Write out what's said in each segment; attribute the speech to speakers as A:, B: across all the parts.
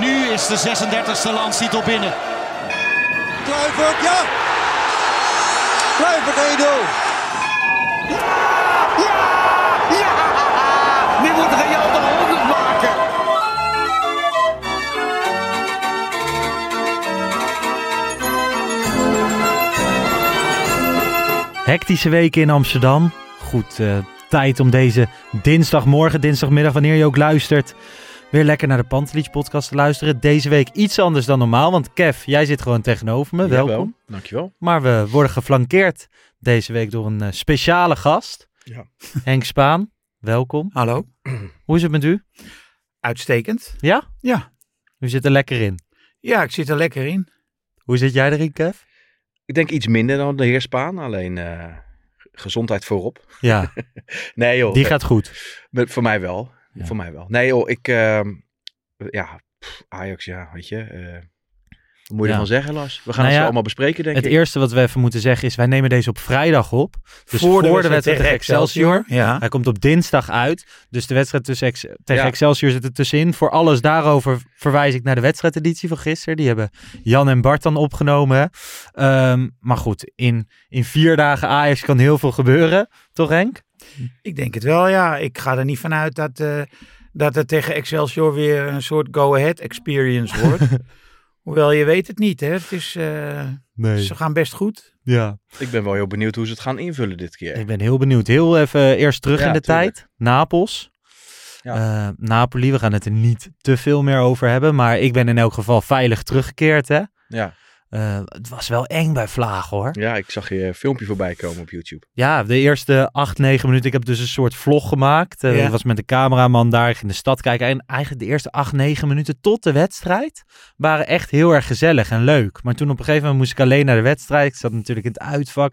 A: nu is de 36e landstitel binnen.
B: Kluivert, ja! Kluivert, Edo!
C: Nu moet Real de 100 maken.
D: Hectische weken in Amsterdam. Goed eh, tijd om deze dinsdagmorgen, dinsdagmiddag, wanneer je ook luistert, weer lekker naar de Pantelich podcast te luisteren. Deze week iets anders dan normaal, want Kev, jij zit gewoon tegenover me. Welkom.
E: Dankjewel.
D: Maar we worden geflankeerd deze week door een eh, speciale gast.
E: Ja.
D: Henk Spaan, welkom.
E: Hallo.
D: Hoe is het met u?
E: Uitstekend.
D: Ja?
E: Ja.
D: U zit er lekker in.
E: Ja, ik zit er lekker in.
D: Hoe zit jij erin, Kev?
F: Ik denk iets minder dan de heer Spaan, alleen eh, gezondheid voorop.
D: Ja,
F: Nee joh,
D: die
F: eh,
D: gaat goed.
F: me- voor mij wel. Voor mij wel. Nee joh, ik, ehm, ja, pff, Ajax ja, weet je. eh, wat moet je
D: Ja.
F: ervan zeggen Lars? We gaan
D: Nou
F: het zo
D: ja,
F: allemaal bespreken denk
D: Het
F: ik.
D: eerste wat we even moeten zeggen is, wij nemen deze op vrijdag op. Dus voor, de wedstrijd tegen Excelsior.
E: Ja.
D: Hij komt op dinsdag uit. Dus de wedstrijd tussen Ex- tegen
F: Ja.
D: Excelsior zit er tussenin. Voor alles daarover verwijs ik naar de wedstrijdeditie van gisteren. Die hebben Jan en Bart dan opgenomen. Ehm, maar goed, in, in vier dagen Ajax kan heel veel gebeuren. Toch Henk?
E: Ik denk het wel, ja. Ik ga er niet vanuit dat, eh, dat het tegen Excelsior weer een soort go-ahead experience wordt. Hoewel, je weet het niet, hè. Het is, eh,
D: Nee.
E: Ze gaan best goed.
D: Ja.
F: Ik ben wel heel benieuwd hoe ze het gaan invullen dit keer.
D: Ik ben heel benieuwd. Heel even eh, eerst terug
F: Ja,
D: in de
F: tuurlijk.
D: tijd. Napels.
F: Ja.
D: Eh, Napoli, we gaan het er niet te veel meer over hebben. Maar ik ben in elk geval veilig teruggekeerd. Hè?
F: Ja.
D: Eh, het was wel eng bij Vlaag hoor.
F: ja, ik zag je filmpje voorbij komen op YouTube.
D: Ja, de eerste acht, negen minuten. Ik heb dus een soort vlog gemaakt. Eh,
E: Ja.
D: Dat was met de cameraman daar. Ik ging de stad kijken. En eigenlijk de eerste acht, negen minuten tot de wedstrijd waren echt heel erg gezellig en leuk. Maar toen op een gegeven moment moest ik alleen naar de wedstrijd. Ik zat natuurlijk in het uitvak.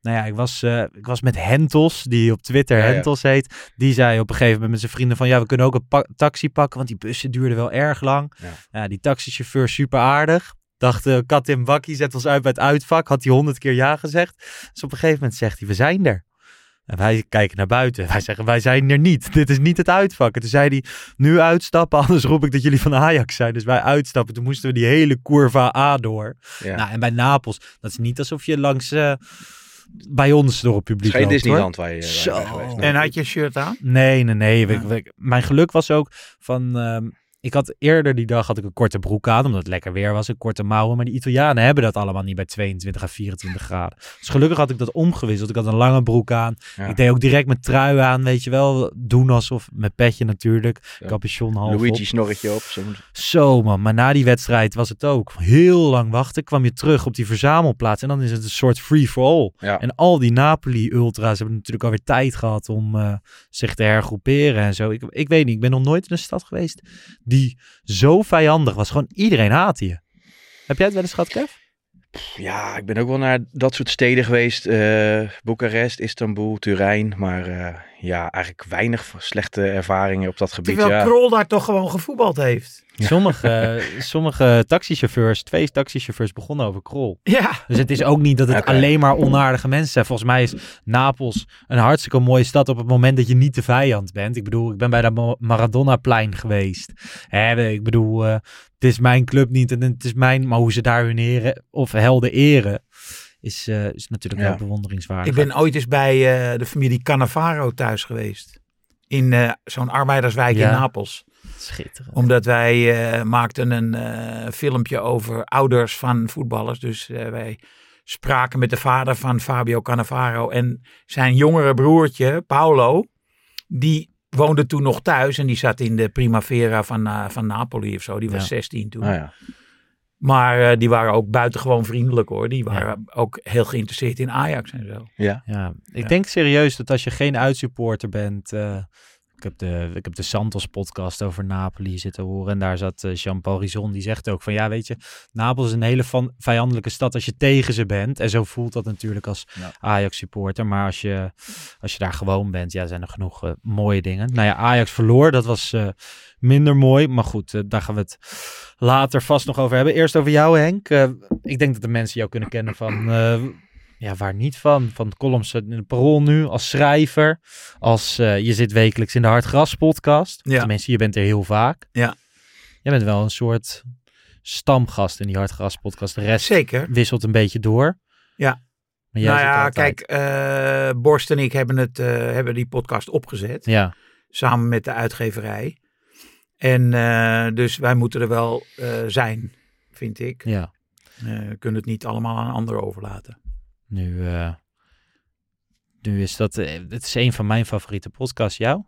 D: Nou ja, ik was, eh, ik was met Hentos, die op Twitter
F: Ja, ja.
D: Hentos heet. Die zei op een gegeven moment met zijn vrienden van... ja, we kunnen ook een pa- taxi pakken, want die bussen duurden wel erg lang. Ja.
F: Ja.
D: die taxichauffeur super aardig. Dacht, eh, kat in bakkie, zet ons uit bij het uitvak. Had hij honderd keer ja gezegd. Dus op een gegeven moment zegt hij, we zijn er. En wij kijken naar buiten. Wij zeggen, wij zijn er niet. Dit is niet het uitvak. En toen zei hij, nu uitstappen, anders roep ik dat jullie van Ajax zijn. Dus wij uitstappen. Toen moesten we die hele curva A door.
F: Ja.
D: Nou, en bij Napels, dat is niet alsof je langs eh, bij ons door het
F: het
D: publiek
F: is geen
D: loopt, hoor.
F: Disneyland waar je waar je
D: Zo.
F: bent geweest.
D: En
F: Nee.
E: En had je een shirt aan?
D: Nee, nee, nee. Ik- ik- mijn geluk was ook van... ehm, ik had eerder die dag had ik een korte broek aan, omdat het lekker weer was, een korte mouwen. Maar die Italianen hebben dat allemaal niet bij 22 à 24 graden. Dus gelukkig had ik dat omgewisseld. Ik had een lange broek aan.
F: Ja.
D: Ik deed ook direct mijn trui aan, weet je wel. Doen alsof, mijn petje natuurlijk,
F: Ja.
D: capuchon half op.
F: Luigi snorretje op. Zo'n
D: Zo man, maar na die wedstrijd was het ook heel lang wachten. Kwam je terug op die verzamelplaats en dan is het een soort free-for-all.
F: Ja.
D: En al die Napoli-ultra's hebben natuurlijk alweer tijd gehad om eh, zich te hergroeperen en zo. Ik, ik weet niet, ik ben nog nooit in een stad geweest die zo vijandig was. Gewoon iedereen haatte je. Heb jij het wel eens gehad, Kev?
F: Ja, ik ben ook wel naar dat soort steden geweest. eh Boekarest, Istanbul, Turijn. Maar eh, ja, eigenlijk weinig v- slechte ervaringen op dat gebied.
E: Terwijl
F: Ja.
E: Krol daar toch gewoon gevoetbald heeft.
D: Sommige, eh, sommige taxichauffeurs, twee taxichauffeurs begonnen over krol.
E: Ja.
D: Dus het is ook niet dat het
F: Oké.
D: alleen maar onaardige mensen zijn. Volgens mij is Napels een hartstikke mooie stad op het moment dat je niet de vijand bent. Ik bedoel, ik ben bij dat Mo- Maradona-plein geweest. Hè, ik bedoel, eh, het is mijn club niet en het is mijn... Maar hoe ze daar hun heren of helden eren, is, eh, is natuurlijk
F: Ja.
D: wel bewonderingswaardig.
E: Ik ben ooit eens bij eh, de familie Cannavaro thuis geweest. In eh, zo'n arbeiderswijk
D: Ja.
E: in Napels.
D: Schitterend.
E: Omdat wij eh, maakten een eh, filmpje over ouders van voetballers. Dus eh, wij spraken met de vader van Fabio Cannavaro en zijn jongere broertje Paolo. Die woonde toen nog thuis en die zat in de Primavera van, eh, van Napoli of zo. Die was
D: Ja.
E: 16 toen.
F: Ah, ja.
E: Maar eh, die waren ook buitengewoon vriendelijk hoor. Die waren ook heel geïnteresseerd in Ajax en zo.
F: ja.
D: Ja, ik
E: Ja.
D: denk serieus dat als je geen uitsupporter bent, eh, Ik heb de, ik heb de Santos-podcast over Napoli zitten horen. En daar zat eh, Jean-Paul Rizon, die zegt ook van... Ja, weet je, Napels is een hele van, vijandelijke stad als je tegen ze bent. En zo voelt dat natuurlijk als
G: Ja.
D: Ajax-supporter. Maar als je, als je daar gewoon bent, ja, zijn er genoeg eh, mooie dingen. Nou ja, Ajax verloor, dat was eh, minder mooi. Maar goed, eh, daar gaan we het later vast nog over hebben. Eerst over jou, Henk. Eh, ik denk dat de mensen jou kunnen kennen van... eh, ja, waar niet van? Van de columns in de Parool nu, als schrijver. Als eh, je zit wekelijks in de Hartgras podcast.
E: Ja.
D: Tenminste, je bent er heel vaak.
E: Ja.
D: Je bent wel een soort stamgast in die Hartgras podcast. De rest
E: Zeker.
D: wisselt een beetje door.
E: Ja.
D: Maar jij
E: nou
D: zit
E: ja,
D: altijd-
E: kijk, eh, Borst en ik hebben, het, eh, hebben die podcast opgezet.
D: Ja,
E: Samen met de uitgeverij. En eh, dus wij moeten er wel eh, zijn, vind ik.
D: ja.
E: Eh, we kunnen het niet allemaal aan anderen overlaten.
D: Nu, eh, nu is dat... eh, het is een van mijn favoriete podcasts. Jou?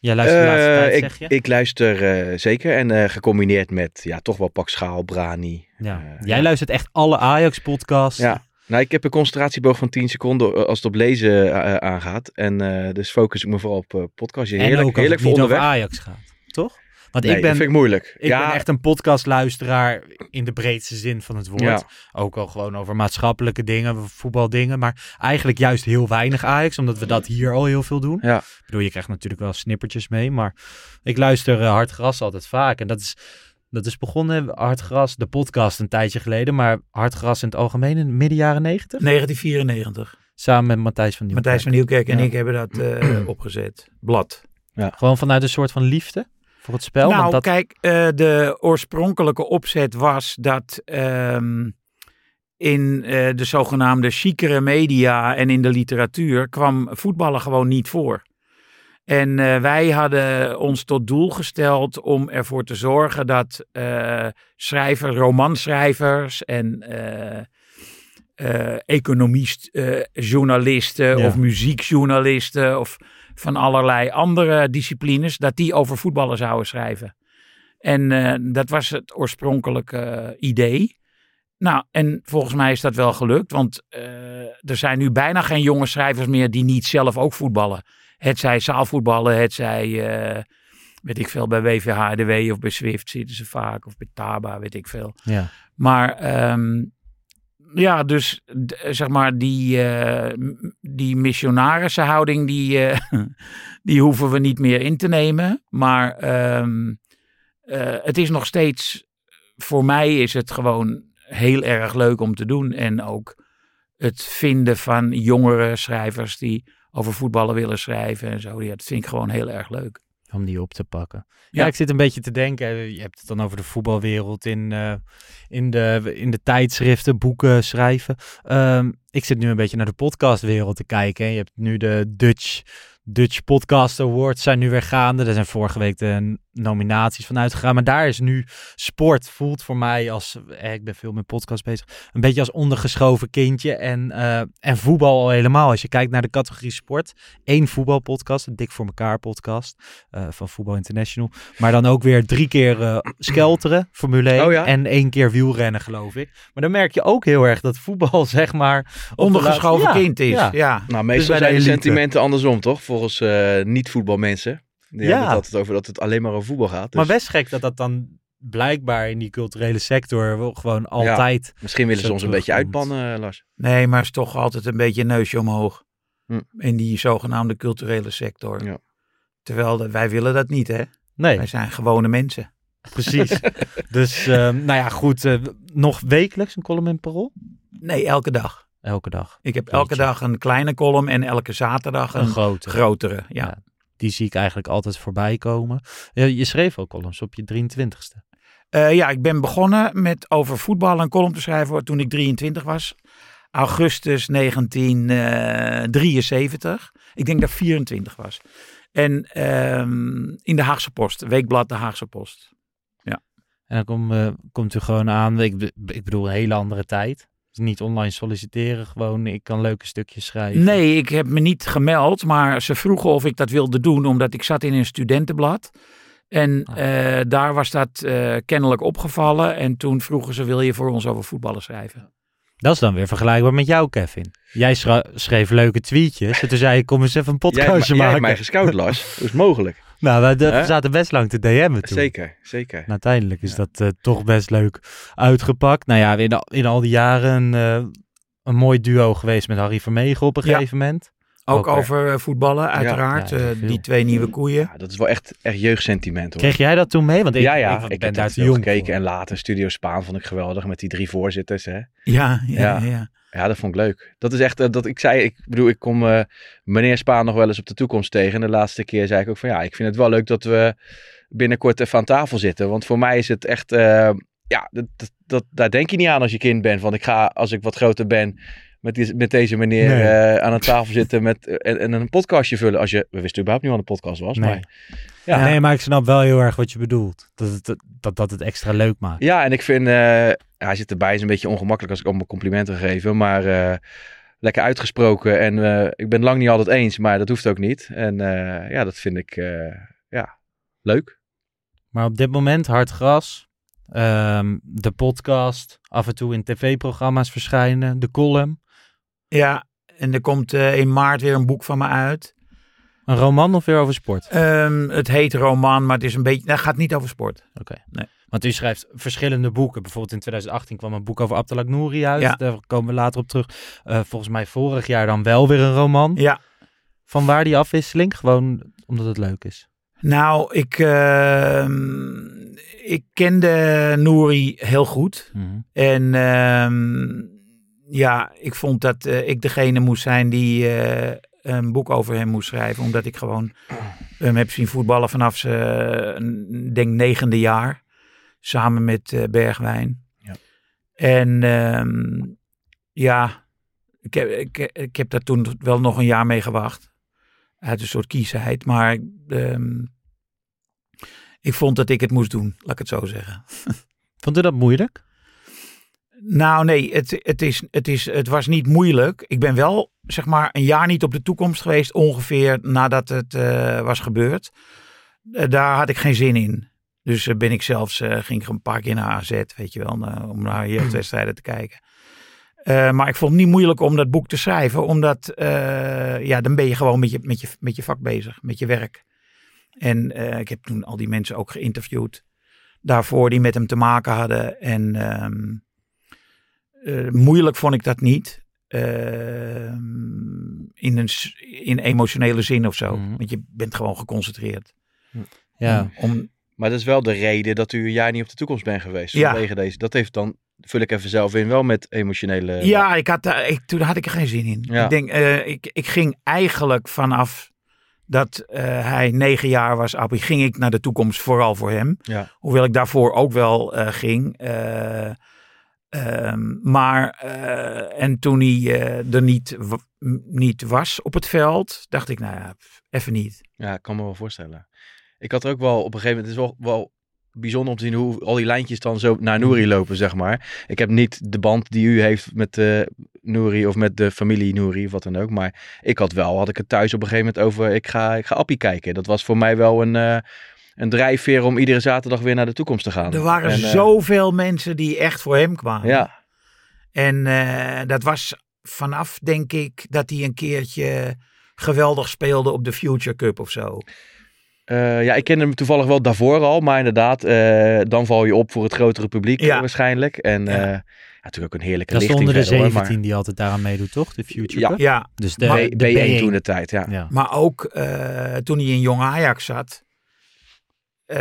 D: Jij luistert de laatste
F: Eh,
D: tijd,
F: ik,
D: zeg je?
F: ik luister eh, zeker. En eh, gecombineerd met ja, toch wel pak schaal, brani.
D: ja.
F: eh,
D: Jij luistert echt alle Ajax-podcasts.
F: Ja. Nou, ik heb een concentratieboog van 10 seconden eh, als het op lezen eh, aangaat. En eh, dus focus ik me vooral op eh podcast.
D: en
F: Heerlijk,
D: ook als
F: heerlijk
D: het
F: voor
D: niet over
F: onderweg.
D: Ajax gaat, toch? Want
F: Nee,
D: ik
F: dat
D: ben,
F: vind ik moeilijk.
D: ik
F: ja,
D: ben echt een podcastluisteraar in de breedste zin van het woord.
F: Ja.
D: Ook al gewoon over maatschappelijke dingen, voetbaldingen. Maar eigenlijk juist heel weinig Ajax, omdat we dat hier al heel veel doen.
F: Ja.
D: Ik bedoel, je krijgt natuurlijk wel snippertjes mee. Maar ik luister eh, Hard Gras altijd vaak. En dat is, dat is begonnen, Hard Gras, de podcast een tijdje geleden. Maar Hard Gras in het algemeen in midden jaren negentig.
E: 1994.
D: Samen met Matthijs van Nieuwkerk.
E: Matthijs van Nieuwkerk en
D: Ja.
E: ik hebben dat eh, opgezet. Blad.
D: Gewoon vanuit een soort van liefde voor het spel.
E: nou,
D: want dat,
E: kijk, eh, de oorspronkelijke opzet was dat ehm, in eh, de zogenaamde chicere media en in de literatuur kwam voetballen gewoon niet voor. En eh, wij hadden ons tot doel gesteld om ervoor te zorgen dat eh schrijvers, romanschrijvers en eh, eh, economist, eh, journalisten
D: Ja.
E: of muziekjournalisten of van allerlei andere disciplines, dat die over voetballen zouden schrijven. En eh, dat was het oorspronkelijke eh, idee. Nou, en volgens mij is dat wel gelukt, want eh, er zijn nu bijna geen jonge schrijvers meer die niet zelf ook voetballen. Het zij zaalvoetballen, het zij, eh, weet ik veel, bij WVHDW of bij Swift zitten ze vaak, of bij Taba, weet ik veel.
D: ja.
E: Maar ehm, ja, dus d- zeg maar die, eh, m- die missionarissenhouding, die, eh, die hoeven we niet meer in te nemen. Maar ehm, eh, het is nog steeds, voor mij is het gewoon heel erg leuk om te doen. En ook het vinden van jongere schrijvers die over voetballen willen schrijven en zo. Ja, dat vind ik gewoon heel erg leuk.
D: om die op te pakken. Ja,
E: Ja.
D: ik zit een beetje te denken. eh, Je hebt het dan over de voetbalwereld in, eh, in, de, in de tijdschriften, boeken, schrijven. Ehm, ik zit nu een beetje naar de podcastwereld te kijken. hè. Je hebt nu de Dutch, Dutch Podcast Awards zijn nu weer gaande. Er zijn vorige week de n- nominaties van uitgegaan. Maar daar is nu sport, voelt voor mij als, eh, ik ben veel met podcast bezig, een beetje als ondergeschoven kindje. En, eh, en voetbal al helemaal. Als je kijkt naar de categorie sport, één voetbalpodcast, een Dik voor elkaar podcast eh, van Voetbal International. Maar dan ook weer drie keer eh, skelteren, Formule 1
F: Oh ja.
D: en één keer wielrennen, geloof ik. Maar dan merk je ook heel erg dat voetbal, zeg maar... op de
E: Ondergeschoven
D: laatste- Ja,
E: kind is,
D: ja.
E: ja.
F: Nou, meestal
D: Dus bij de
F: zijn de
D: elite.
F: sentimenten andersom, toch? Volgens eh, niet-voetbalmensen. Die
D: Ja.
F: hebben het altijd over dat het alleen maar over voetbal gaat.
D: Maar
F: Dus
D: best gek dat dat dan blijkbaar in die culturele sector wel gewoon altijd...
F: misschien willen ze
D: Zo
F: ons een beetje
D: terugkomt.
F: uitbannen, eh, Lars.
E: Nee, maar het is toch altijd een beetje een neusje omhoog.
F: Hm.
E: In die zogenaamde culturele sector.
F: Ja.
E: Terwijl de- wij willen dat niet, hè?
D: Nee,
E: Wij zijn gewone mensen.
D: precies. dus, ehm, nou ja, goed. eh, nog wekelijks een column in Parool?
E: Nee, elke dag.
D: Elke dag.
E: Ik heb elke
D: Jeetje.
E: dag een kleine column en elke zaterdag een,
D: Een grote.
E: grotere. Ja.
D: Ja. die zie ik eigenlijk altijd voorbij komen. Eh, Je schreef ook columns op je 23ste.
E: Eh, ja, ik ben begonnen met over voetbal een column te schrijven toen ik 23 was. Augustus 1973. Ik denk dat ik 24 was. En ehm, in de Haagse Post, weekblad De Haagse Post.
D: En dan kom, eh, komt u gewoon aan. Ik, be- ik bedoel, een hele andere tijd. Dus niet online solliciteren, gewoon ik kan leuke stukjes schrijven.
E: Nee, ik heb me niet gemeld, maar ze vroegen of ik dat wilde doen, omdat ik zat in een studentenblad. En
D: Ah.
E: eh, daar was dat eh, kennelijk opgevallen. En toen vroegen ze, wil je voor ons over voetballen schrijven?
D: Dat is dan weer vergelijkbaar met jou, Kevin. Jij schra- schreef leuke tweetjes. En toen zei ik, kom eens even een
F: Jij, hebt
D: podcastje
F: mij- jij hebt
D: maken.
F: mij gescout, Lars. Dat is mogelijk.
D: Nou, we d-
F: Hè?
D: zaten best lang te DM'en toen.
F: Zeker, zeker.
D: En uiteindelijk is dat eh, toch best leuk uitgepakt. Nou ja, in al, in al die jaren eh, een mooi duo geweest met Harry Vermegen op een
E: Ja.
D: gegeven moment.
E: Ook
D: Ook weer.
E: over eh, voetballen, uiteraard.
D: ja,
E: eh,
D: veel.
E: die twee nieuwe koeien.
F: Ja, dat is wel echt, echt jeugdsentiment hoor.
D: Kreeg jij dat toen mee? Want ik,
F: ja,
D: ik,
F: ja, ik,
D: ben
F: heb
D: daar
F: dat
D: te
F: veel
D: jong
F: gekeken.
D: voor.
F: En later Studio Spaan vond ik geweldig met die drie voorzitters. Hè.
E: Ja, ja, ja.
F: Ja. Ja, dat vond ik leuk. Dat is echt, eh, dat ik zei, ik bedoel, ik kom eh, meneer Spaan nog wel eens op de toekomst tegen. En de laatste keer zei ik ook van ja, ik vind het wel leuk dat we binnenkort even aan tafel zitten. Want voor mij is het echt, eh, ja, dat, dat, dat- daar denk je niet aan als je kind bent. Want ik ga, als ik wat groter ben, met, die- met deze meneer
D: Nee.
F: eh, aan een tafel zitten met, eh, en, en een podcastje vullen. Als je, we wisten überhaupt niet wat een podcast was.
D: Nee.
F: Maar
D: Ja. Nee, maar ik snap wel heel erg wat je bedoelt. Dat het, dat, dat het extra leuk maakt.
F: Ja, en ik vind, eh, hij zit erbij, is een beetje ongemakkelijk als ik allemaal complimenten geef, maar eh, lekker uitgesproken. En eh, ik ben het lang niet altijd eens, maar dat hoeft ook niet. En eh, ja, dat vind ik, eh, ja, leuk.
D: Maar op dit moment hard gras. ehm, de podcast. Af en toe in tv-programma's verschijnen. De column.
E: Ja, en er komt eh, in maart weer een boek van me uit.
D: Een roman of weer over sport.
E: Ehm, het heet roman, maar het is een beetje. Nou, het gaat niet over sport.
D: Want u schrijft verschillende boeken. Bijvoorbeeld in 2018 kwam een boek over Abdelak Nouri uit.
E: Ja.
D: Daar komen we later op terug. Eh, volgens mij vorig jaar dan wel weer een roman.
E: Ja.
D: Van waar die afwisseling? Gewoon omdat het leuk is.
E: Nou, ik, ehm, ik kende Nouri heel goed. En ehm, ja, ik vond dat eh, ik degene moest zijn die eh, een boek over hem moest schrijven. Omdat ik gewoon hem heb zien voetballen vanaf zijn, eh, denk negende jaar. Samen met eh, Bergwijn.
F: Ja.
E: En ehm, ja, ik heb, ik, ik heb daar toen wel nog een jaar mee gewacht. Uit een soort kiesheid. Maar ehm, ik vond dat ik het moest doen, laat ik het zo zeggen.
D: Vond u dat moeilijk?
E: Nou nee, het, het, is, het, is, het was niet moeilijk. Ik ben wel zeg maar een jaar niet op de toekomst geweest ongeveer nadat het eh, was gebeurd. Eh, daar had ik geen zin in. Dus eh, ben ik zelfs, eh, ging ik een paar keer naar AZ, weet je wel, na- om naar jeugdwedstrijden te kijken. Eh, maar ik vond het niet moeilijk om dat boek te schrijven, omdat eh, ja, dan ben je gewoon met je, met, je, met je vak bezig, met je werk. En eh, ik heb toen al die mensen ook geïnterviewd daarvoor die met hem te maken hadden. En ehm, eh, moeilijk vond ik dat niet. Ehm, in, een, s- in emotionele zin of zo.
D: Mhm.
E: Want je bent gewoon geconcentreerd.
D: Ja.
E: Om,
F: Maar dat is wel de reden dat u een jaar niet op de toekomst bent geweest.
E: Ja.
F: Vanwege deze, dat heeft dan, vul ik even zelf in, wel met emotionele...
E: ja, ik had, daar- ik, toen had ik er geen zin in.
F: Ja.
E: Ik, denk, eh, ik, ik ging eigenlijk vanaf dat eh, hij negen jaar was, Appie, ging ik naar de toekomst vooral voor hem.
F: Ja.
E: Hoewel ik daarvoor ook wel eh, ging. Eh, ehm, maar, eh, en toen hij eh, er niet, w- m- niet was op het veld, dacht ik, nou ja, pff, even niet.
F: Ja, ik kan me wel voorstellen. Ik had er ook wel op een gegeven moment, het is wel, wel bijzonder om te zien hoe al die lijntjes dan zo naar Nouri
E: Mhm.
F: lopen, zeg maar. Ik heb niet de band die u heeft met eh Nouri of met de familie Nouri, of wat dan ook. Maar ik had wel, had ik het thuis op een gegeven moment over, ik ga, ik ga Appie kijken. Dat was voor mij wel een, eh, een drijfveer om iedere zaterdag weer naar de toekomst te gaan.
E: Er waren
F: En, eh,
E: zoveel mensen die echt voor hem kwamen.
F: Ja,
E: En eh, dat was vanaf, denk ik, dat hij een keertje geweldig speelde op de Future Cup of zo.
F: Eh, ja, ik kende hem toevallig wel daarvoor al, maar inderdaad, eh, dan val je op voor het grotere publiek
E: Ja.
F: waarschijnlijk. En
E: Ja.
F: eh, ja. natuurlijk ook een heerlijke
D: Dat is de
F: lichting
D: onder de
F: verder,
D: 17
F: hoor, maar-
D: die altijd daaraan meedoet, toch? De Future
F: Ja.
D: Cup.
E: Ja,
D: Dus de,
F: B-
D: de
F: B1
D: B1.
F: toen de tijd, ja.
D: Ja.
E: maar ook eh, toen hij in Jong Ajax zat. eh,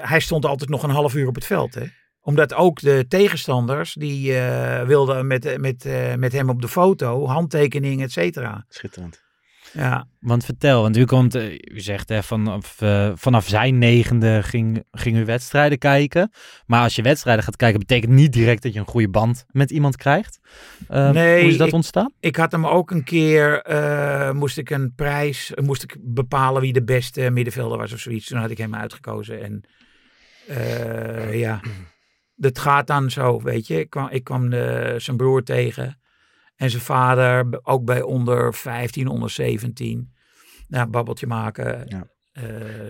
E: hij stond altijd nog een half uur op het veld, hè? Omdat ook de tegenstanders, die eh, wilden met, met, eh, met hem op de foto, handtekening, et cetera.
F: Schitterend.
E: Ja,
D: Want vertel, want u, komt, eh, u zegt hè, vanaf, eh, vanaf zijn negende ging, ging u wedstrijden kijken. Maar als je wedstrijden gaat kijken, betekent niet direct dat je een goede band met iemand krijgt. Eh,
E: Nee,
D: hoe is dat
E: ik-
D: ontstaan?
E: ik had hem ook een keer, eh, moest ik een prijs, eh, moest ik bepalen wie de beste middenvelder was of zoiets. Toen had ik hem uitgekozen en eh, ja, dat gaat dan zo, weet je. Ik kwam, ik kwam eh, zijn broer tegen en zijn vader, b- ook bij onder 15, onder 17. Nou, babbeltje maken,
F: Ja.
E: Eh,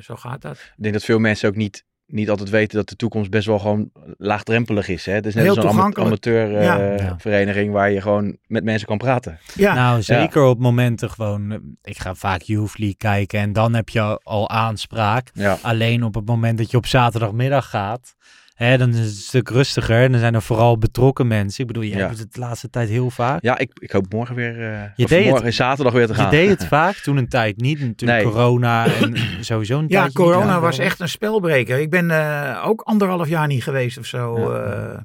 E: zo gaat dat.
F: Ik denk dat veel mensen ook niet niet altijd weten dat de toekomst best wel gewoon laagdrempelig is. Hè? Het is net
E: Heel
F: als een ama-
E: toegankelijk. Ja.
D: Ja.
F: amateurvereniging waar je gewoon met mensen kan praten.
E: Ja,
D: Nou, zeker op momenten gewoon. eh, Ik ga vaak Youth League kijken en dan heb je al aanspraak.
F: Ja.
D: Alleen op het moment dat je op zaterdagmiddag gaat, hè, dan is het een stuk rustiger. En dan zijn er vooral betrokken mensen. Ik bedoel, jij
F: Ja.
D: hebt het de laatste tijd heel vaak.
F: Ja, ik, ik hoop morgen weer, eh
D: Je
F: of
D: deed het.
F: morgen zaterdag weer te
D: Je
F: gaan.
D: deed het vaak, toen een tijd niet. Natuurlijk
F: Nee.
D: corona en sowieso een
E: Ja,
D: tijdje niet.
E: corona was echt een spelbreker. Ik ben eh, ook anderhalf jaar niet geweest of zo. eh.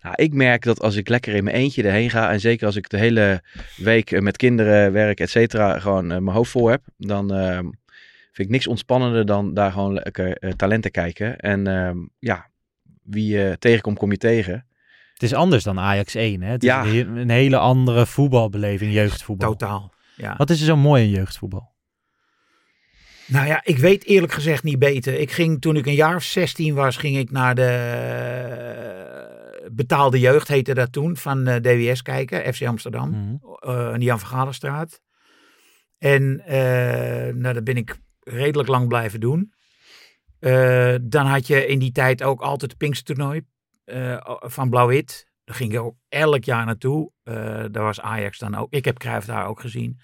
F: Nou, ik merk dat als ik lekker in mijn eentje erheen ga en zeker als ik de hele week eh, met kinderen werk, et cetera, gewoon eh, mijn hoofd vol heb, dan ehm, vind ik niks ontspannender dan daar gewoon lekker eh, talenten kijken. En ehm, ja, wie je tegenkomt, kom je tegen.
D: Het is anders dan Ajax 1. Hè? Het
F: Ja.
D: is een, he- een hele andere voetbalbeleving, jeugdvoetbal.
E: totaal. Ja.
D: Wat is er zo mooi in jeugdvoetbal?
E: Nou ja, ik weet eerlijk gezegd niet beter. Ik ging toen ik een jaar of 16 was, ging ik naar de eh, betaalde jeugd, heette dat toen, van eh, DWS kijken, FC Amsterdam,
D: Mhm.
E: eh, aan de Jan van Galenstraat. En eh, nou, dat ben ik redelijk lang blijven doen. Eh, dan had je in die tijd ook altijd het Pinkstertoernooi eh, van Blauw-Wit. Daar ging ik ook elk jaar naartoe. Eh, daar was Ajax dan ook. Ik heb Cruijff daar ook gezien.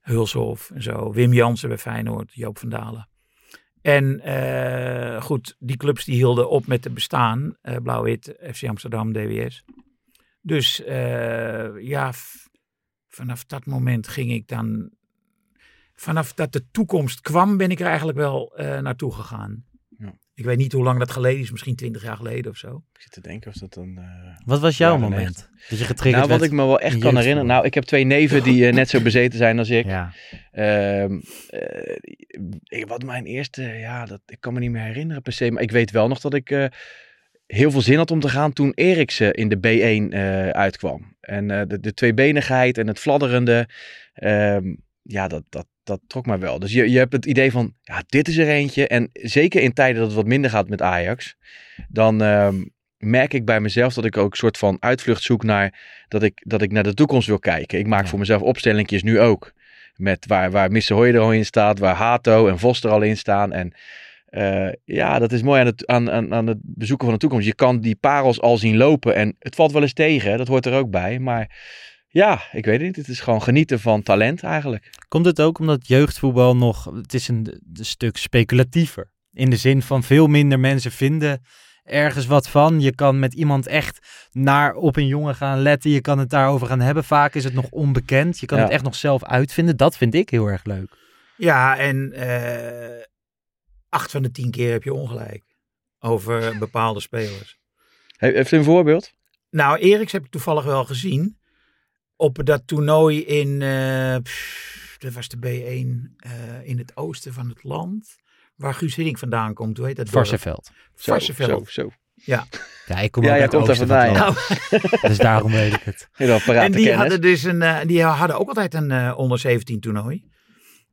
E: Hulshof en zo. Wim Jansen bij Feyenoord, Joop van Dalen. En eh, goed, die clubs die hielden op met te bestaan. eh Blauw-Wit, FC Amsterdam, DWS. Dus eh, ja, v- vanaf dat moment ging ik dan... Vanaf dat de toekomst kwam, ben ik er eigenlijk wel eh, naartoe gegaan.
F: Ja.
E: Ik weet niet hoe lang dat geleden is, misschien twintig jaar geleden of zo.
F: Ik zit te denken of dat dan... eh,
D: Wat was jouw
F: Ja, nee.
D: moment? Dat je getriggerd
F: Nou, wat
D: werd?
F: ik me wel echt
D: in
F: kan herinneren.
D: jeugdvoetbal.
F: Nou, ik heb twee neven die eh, net zo bezeten zijn als ik.
D: Ja.
F: Ehm, eh, ik- wat mijn eerste, ja, dat, ik kan me niet meer herinneren per se. Maar ik weet wel nog dat ik eh, heel veel zin had om te gaan toen Eriksen in de B1 eh, uitkwam. En eh, de, de tweebenigheid en het fladderende, ehm, ja, dat, dat, dat trok mij wel. Dus je, je hebt het idee van, ja, dit is er eentje. En zeker in tijden dat het wat minder gaat met Ajax, dan... ehm, merk ik bij mezelf dat ik ook een soort van uitvlucht zoek naar dat ik, dat ik naar de toekomst wil kijken. Ik maak
D: Ja.
F: voor mezelf opstellingjes nu ook. Met waar, waar Missehoy er al in staat, waar Hato en Vos er al in staan. En eh, ja, dat is mooi aan het, aan, aan, aan het bezoeken van de toekomst. Je kan die parels al zien lopen en het valt wel eens tegen, hè, dat hoort er ook bij. Maar ja, ik weet het niet. Het is gewoon genieten van talent eigenlijk.
D: Komt het ook omdat jeugdvoetbal nog, het is een, een stuk speculatiever. In de zin van veel minder mensen vinden ergens wat van. Je kan met iemand echt naar op een jongen gaan letten. Je kan het daarover gaan hebben. Vaak is het nog onbekend. Je kan
F: Ja.
D: het echt nog zelf uitvinden. Dat vind ik heel erg leuk.
E: Ja, en eh, acht van de tien keer heb je ongelijk over bepaalde spelers.
F: He- Heeft u een voorbeeld?
E: Nou, Eriks heb ik toevallig wel gezien op dat toernooi in, eh, pff, dat was de B1, eh, in het oosten van het land, waar Guus Hiddink vandaan komt. Hoe heet dat? dorp?
D: Varsenveld.
F: Zo, zo,
E: Varsseveld.
F: zo.
D: Ja, ik kom
F: Ja,
D: ook
F: jij
D: uit
F: komt
D: het
F: er
D: oosten van het
F: vandaan,
D: land. Dus daarom weet ik het.
F: Helemaal parate
E: En die
F: kennis.
E: hadden, dus een, eh, die hadden ook altijd een eh, onder 17 toernooi.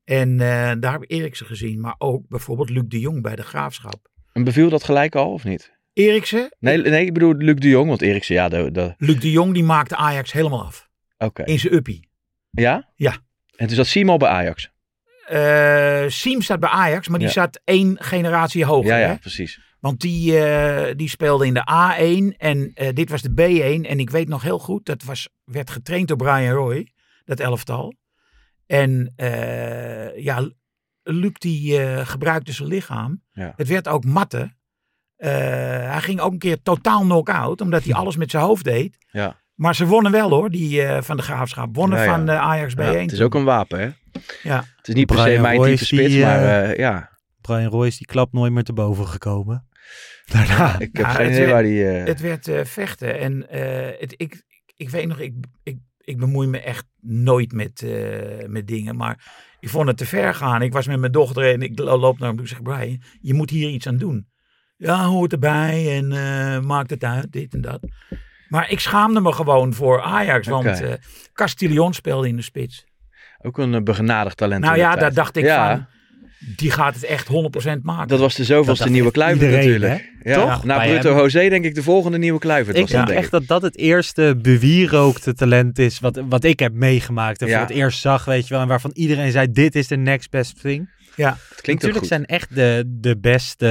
E: En eh, daar heb ik Eriksen gezien, maar ook bijvoorbeeld Luc de Jong bij de Graafschap.
F: En beviel dat gelijk al of niet?
E: Eriksen,
F: Nee, nee ik bedoel Luc de Jong, want Eriksen, ja, dat... dat-
E: Luc de Jong die maakte Ajax helemaal af.
F: Oké.
E: In zijn uppie.
F: Ja?
E: Ja.
F: En toen zat Simo bij Ajax.
E: Eh, Siem staat bij Ajax, maar die
F: Ja.
E: staat één generatie hoger.
F: ja,
E: Hè?
F: ja, precies.
E: Want die, eh, die speelde in de A1 en eh, dit was de B1. En ik weet nog heel goed, dat was, werd getraind door Brian Roy, dat elftal. En eh, ja, Luc die eh, gebruikte zijn lichaam.
F: Ja.
E: Het werd ook matten. Eh, hij ging ook een keer totaal knock-out, omdat hij alles met zijn hoofd deed.
F: Ja.
E: Maar ze wonnen wel hoor, die eh, van de Graafschap. Wonnen
F: Ja, ja.
E: van de Ajax B1.
F: Ja, het is ook een wapen, hè?
E: Ja.
F: Het is niet per se
D: Brian
F: mijn
D: Roy
F: type
D: is die,
F: spits, maar
D: eh,
F: eh, ja.
D: Brian Roy is die klap nooit meer te boven gekomen. Daarna.
F: Ik heb
E: nou,
F: geen
E: het
F: idee
E: werd-
F: waar die... eh,
E: Het werd eh, vechten. En eh, het, ik, ik- ik weet nog, ik, ik, ik bemoei me echt nooit met, eh, met dingen. Maar ik vond het te ver gaan. Ik was met mijn dochter en ik lo- loop naar hem toe. Ik zeg, Brian, je moet hier iets aan doen. Ja, hoort erbij en eh, maakt het uit, dit en dat. Maar ik schaamde me gewoon voor Ajax. Want
F: Oké.
E: eh Castillon speelde in de spits.
F: Ook een eh, begenadigd talent.
E: Nou
F: in de
E: ja,
F: tijd.
E: daar dacht ik
F: Ja,
E: van, die gaat het echt 100% maken.
F: Dat was de
D: Dat
F: zoveelste
D: dacht
F: nieuwe
D: echt
F: kluiver
D: iedereen,
F: natuurlijk. Ja,
D: Toch?
F: Na
E: Nou
D: Bij
F: Bruto
D: hem.
F: José denk ik de volgende nieuwe kluiver.
D: Ik
F: was dat,
D: denk
F: denk
D: echt dat dat het eerste bewierookte talent is wat, wat ik heb meegemaakt. En
F: Ja.
D: voor het eerst zag, weet je wel. En waarvan iedereen zei, dit is de next best thing.
E: Ja,
F: Het klinkt ook
D: Natuurlijk
F: goed.
D: zijn echt de, de, beste,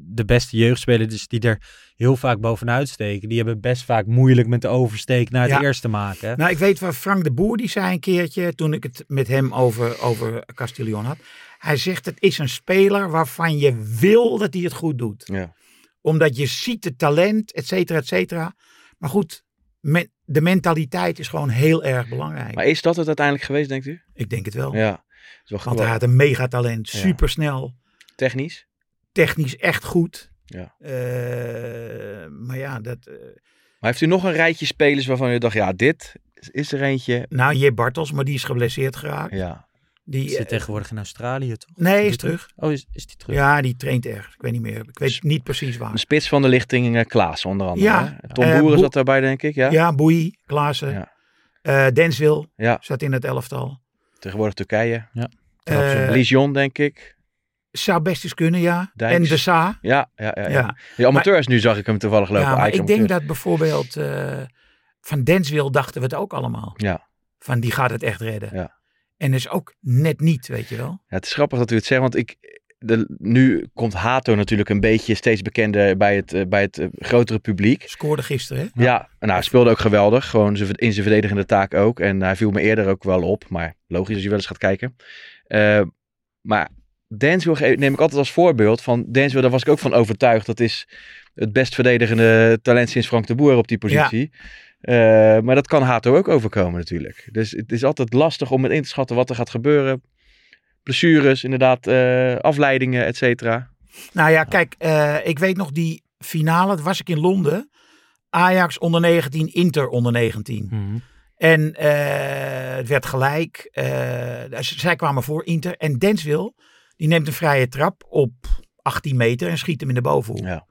D: de beste jeugdspelers dus die er heel vaak bovenuit steken. Die hebben best vaak moeilijk met de oversteek naar het
E: Ja.
D: eerste maken. hè.
E: Nou, ik weet waar Frank de Boer die zei een keertje toen ik het met hem over, over Castillon had. Hij zegt het is een speler waarvan je wil dat hij het goed doet.
F: Ja.
E: Omdat je ziet het talent, et cetera, et cetera. Maar goed, men- de mentaliteit is gewoon heel erg belangrijk.
F: Maar is dat het uiteindelijk geweest, denkt u?
E: ik denk het wel.
F: Ja. Het is wel
E: Oh. Want
F: geweldig.
E: hij had een megatalent,
F: Ja.
E: supersnel,
F: Technisch?
E: technisch echt goed.
F: Ja.
E: Eh, maar ja, dat, eh,
F: Maar heeft u nog een rijtje spelers waarvan u dacht, ja, dit is- is er eentje.
E: nou J. Bartels, maar die is geblesseerd geraakt.
F: Ja.
E: Die,
D: Die zit
E: eh,
D: tegenwoordig in Australië, toch?
E: nee, is
D: die
E: terug.
D: Oh, is, is die terug?
E: Ja, die traint erg. Ik weet niet meer. Ik
F: Dus
E: weet niet precies
F: Een
E: waar.
F: spits van de lichting eh, Klaas, onder andere.
E: Ja.
F: hè? Tom
E: Eh,
F: Boeren
E: Bo-
F: zat daarbij, denk ik. Ja.
E: Ja, Boei, Klaassen.
F: Ja.
E: Eh, Denswil
F: Ja.
E: zat in het elftal.
F: Tegenwoordig Turkije.
E: Eh
F: Lision, denk ik.
E: zou best eens kunnen, ja.
F: Dijks.
E: En de Sa.
F: Ja, ja, ja.
E: Ja,
F: ja.
E: ja.
F: Die amateurs, nu zag ik hem toevallig lopen.
E: maar
F: Ajax
E: ik denk
F: amateurs.
E: dat bijvoorbeeld eh, van Denswil dachten we het ook allemaal.
F: Ja.
E: Van die gaat het echt redden.
F: Ja.
E: En is ook net niet, weet je wel.
F: Ja, het is grappig dat u het zegt, want ik... De, nu komt Hato natuurlijk een beetje steeds bekender bij het, eh, bij het eh, grotere publiek.
E: Scoorde gisteren, hè?
F: Ja, nou, hij speelde ook geweldig. Gewoon zijn- in zijn verdedigende taak ook. En hij viel me eerder ook wel op. Maar logisch als je wel eens gaat kijken. Eh, maar Denswil ge- neem ik altijd als voorbeeld. Van Denswil, daar was ik ook van overtuigd. Dat is het best verdedigende talent sinds Frank de Boer op die positie. Eh, maar dat kan Hato ook overkomen natuurlijk. Dus het is altijd lastig om het in te schatten wat er gaat gebeuren. Blessures, inderdaad, eh, afleidingen, et cetera.
E: Nou ja, kijk, eh, ik weet nog die finale, dat was ik in Londen. Ajax onder 19, Inter onder 19.
D: Mhm.
E: En eh, het werd gelijk. Eh, z- zij kwamen voor Inter. En Denswil, die neemt een vrije trap op 18 meter en schiet hem in de bovenhoek.
F: Ja.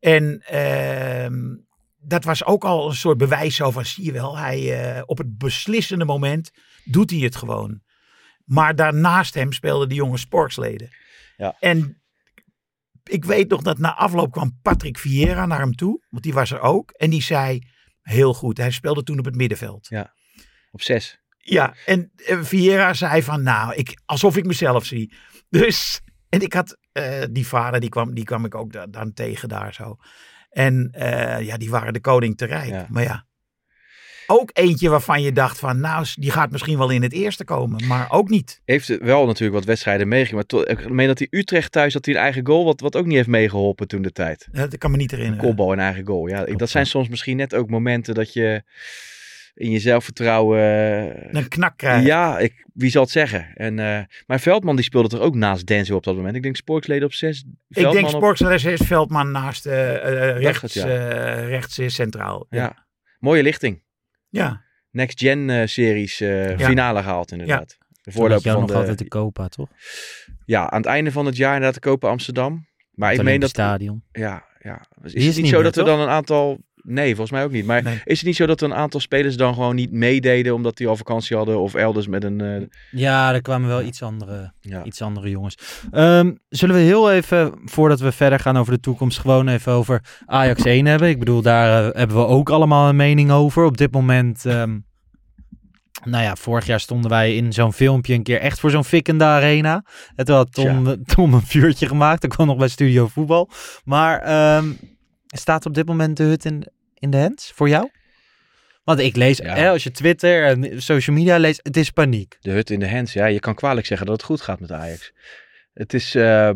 E: En ehm, dat was ook al een soort bewijs zo van, zie je wel, hij, eh, op het beslissende moment doet hij het gewoon. Maar daarnaast hem speelden die jonge sporksleden.
F: Ja.
E: En ik weet nog dat na afloop kwam Patrick Vieira naar hem toe, want die was er ook. En die zei, heel goed, hij speelde toen op het middenveld.
F: Op zes.
E: Ja, en eh, Vieira zei van, nou, ik, alsof ik mezelf zie. Dus, en ik had, eh, die vader, die kwam, die kwam ik ook da- dan tegen daar zo. En eh, ja, die waren de koning te rijk.
F: Ja.
E: Maar ja, ook eentje waarvan je dacht van, nou, die gaat misschien wel in het eerste komen, maar ook niet.
F: heeft wel natuurlijk wat wedstrijden meegemaakt. Maar to- ik meen dat hij Utrecht thuis had hij een eigen goal, wat, wat ook niet heeft meegeholpen toen de tijd.
E: Eh, Dat kan me niet herinneren.
F: Kopbal en eigen goal. Ja, ik- dat zijn soms misschien net ook momenten dat je in je zelfvertrouwen. eh,
E: Een knak krijgen.
F: Ja, ik, wie zal het zeggen? En, eh, maar Veldman die speelde toch ook naast Denzel op dat moment. Ik denk sportsleden op zes.
E: Ik
F: Veldman
E: denk
F: op-
E: sportsles is Veldman naast eh, eh, rechts,
F: het, ja.
E: eh, rechts is centraal.
F: Ja. Mooie lichting.
E: ja.
F: Next Gen eh, series eh,
E: Ja.
F: finale gehaald inderdaad. De
D: Toen had
F: voorloper
D: Jan
F: van
D: nog
F: de,
D: altijd de Copa, toch?
F: Ja, aan het einde van het jaar inderdaad de Kopen Amsterdam. Maar
D: Het
F: ik meen dat
D: Stadion.
F: Ja, ja.
D: is
F: Is, het niet
D: niet
F: zo
D: meer,
F: dat er
D: toch?
F: dan een aantal... Nee, volgens mij ook niet. Maar
E: Nee.
F: is het niet zo dat een aantal spelers dan gewoon niet meededen omdat die al vakantie hadden of elders met een... eh,
D: Ja, er kwamen wel iets andere...
F: ja.
D: iets andere jongens. Ehm, zullen we heel even, voordat we verder gaan over de toekomst, gewoon even over Ajax 1 hebben? Ik bedoel, daar eh, hebben we ook allemaal een mening over. Op dit moment, ehm, nou ja, vorig jaar stonden wij in zo'n filmpje een keer echt voor zo'n fikkende arena. Het had Tom, Tom een vuurtje gemaakt, dat kwam nog bij Studio Voetbal. Maar ehm, staat op dit moment de hut in, in de hands voor jou? Want ik lees,
F: Ja.
D: hè, als je Twitter en social media leest, het is paniek.
F: De hut in de hands. Ja, je kan kwalijk zeggen dat het goed gaat met Ajax. Het is... eh, Ja,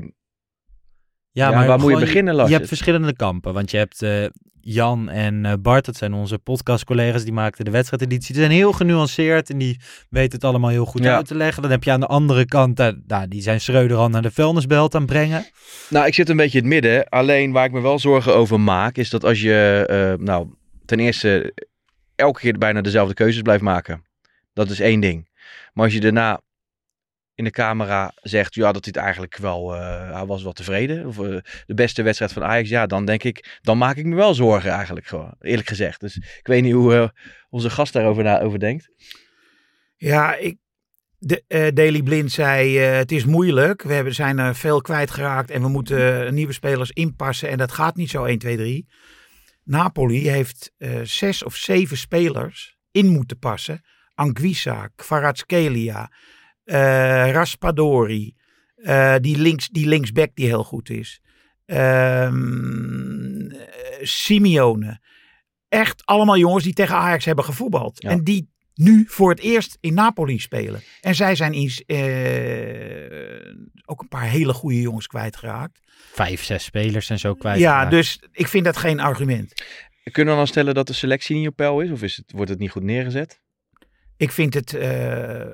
F: waar moet je
D: gewoon-
F: beginnen, Lars?
D: Je hebt verschillende kampen, want je hebt eh, Jan en eh, Bart, dat zijn onze podcastcollega's, die maakten de wedstrijdeditie. Die zijn heel genuanceerd en die weten het allemaal heel goed
F: Ja.
D: uit te leggen. Dan heb je aan de andere kant, eh, nou, die zijn Schreuder al naar de vuilnisbelt aan het brengen.
F: Nou, ik zit een beetje in het midden. Alleen waar ik me wel zorgen over maak, is dat als je, eh, nou, ten eerste elke keer bijna dezelfde keuzes blijft maken. Dat is één ding. Maar als je daarna in de camera zegt, ja, dat hij het eigenlijk wel, eh, hij was wel tevreden. Of eh, de beste wedstrijd van Ajax, ja, dan denk ik, dan maak ik me wel zorgen eigenlijk gewoon, eerlijk gezegd. Dus ik weet niet hoe eh, onze gast daarover na over denkt.
E: Ja, ik, de, eh, Daily Blind zei, eh, het is moeilijk. We hebben, zijn er veel kwijtgeraakt en we moeten eh, nieuwe spelers inpassen. En dat gaat niet zo 1, 2, 3. Napoli heeft eh, zes of zeven spelers in moeten passen. Anguissa, Kvaratskhelia, eh Raspadori, Eh, die, links, die linksback die heel goed is. Ehm, eh, Simeone. Echt allemaal jongens die tegen Ajax hebben gevoetbald.
F: Ja.
E: En die nu voor het eerst in Napoli spelen. En zij zijn iets, eh, ook een paar hele goede jongens kwijtgeraakt.
D: Vijf, zes spelers en zo kwijt.
E: Ja, dus ik vind dat geen argument.
F: Kunnen we dan stellen dat de selectie niet op peil is? Of is het, wordt het niet goed neergezet?
E: Ik vind het eh,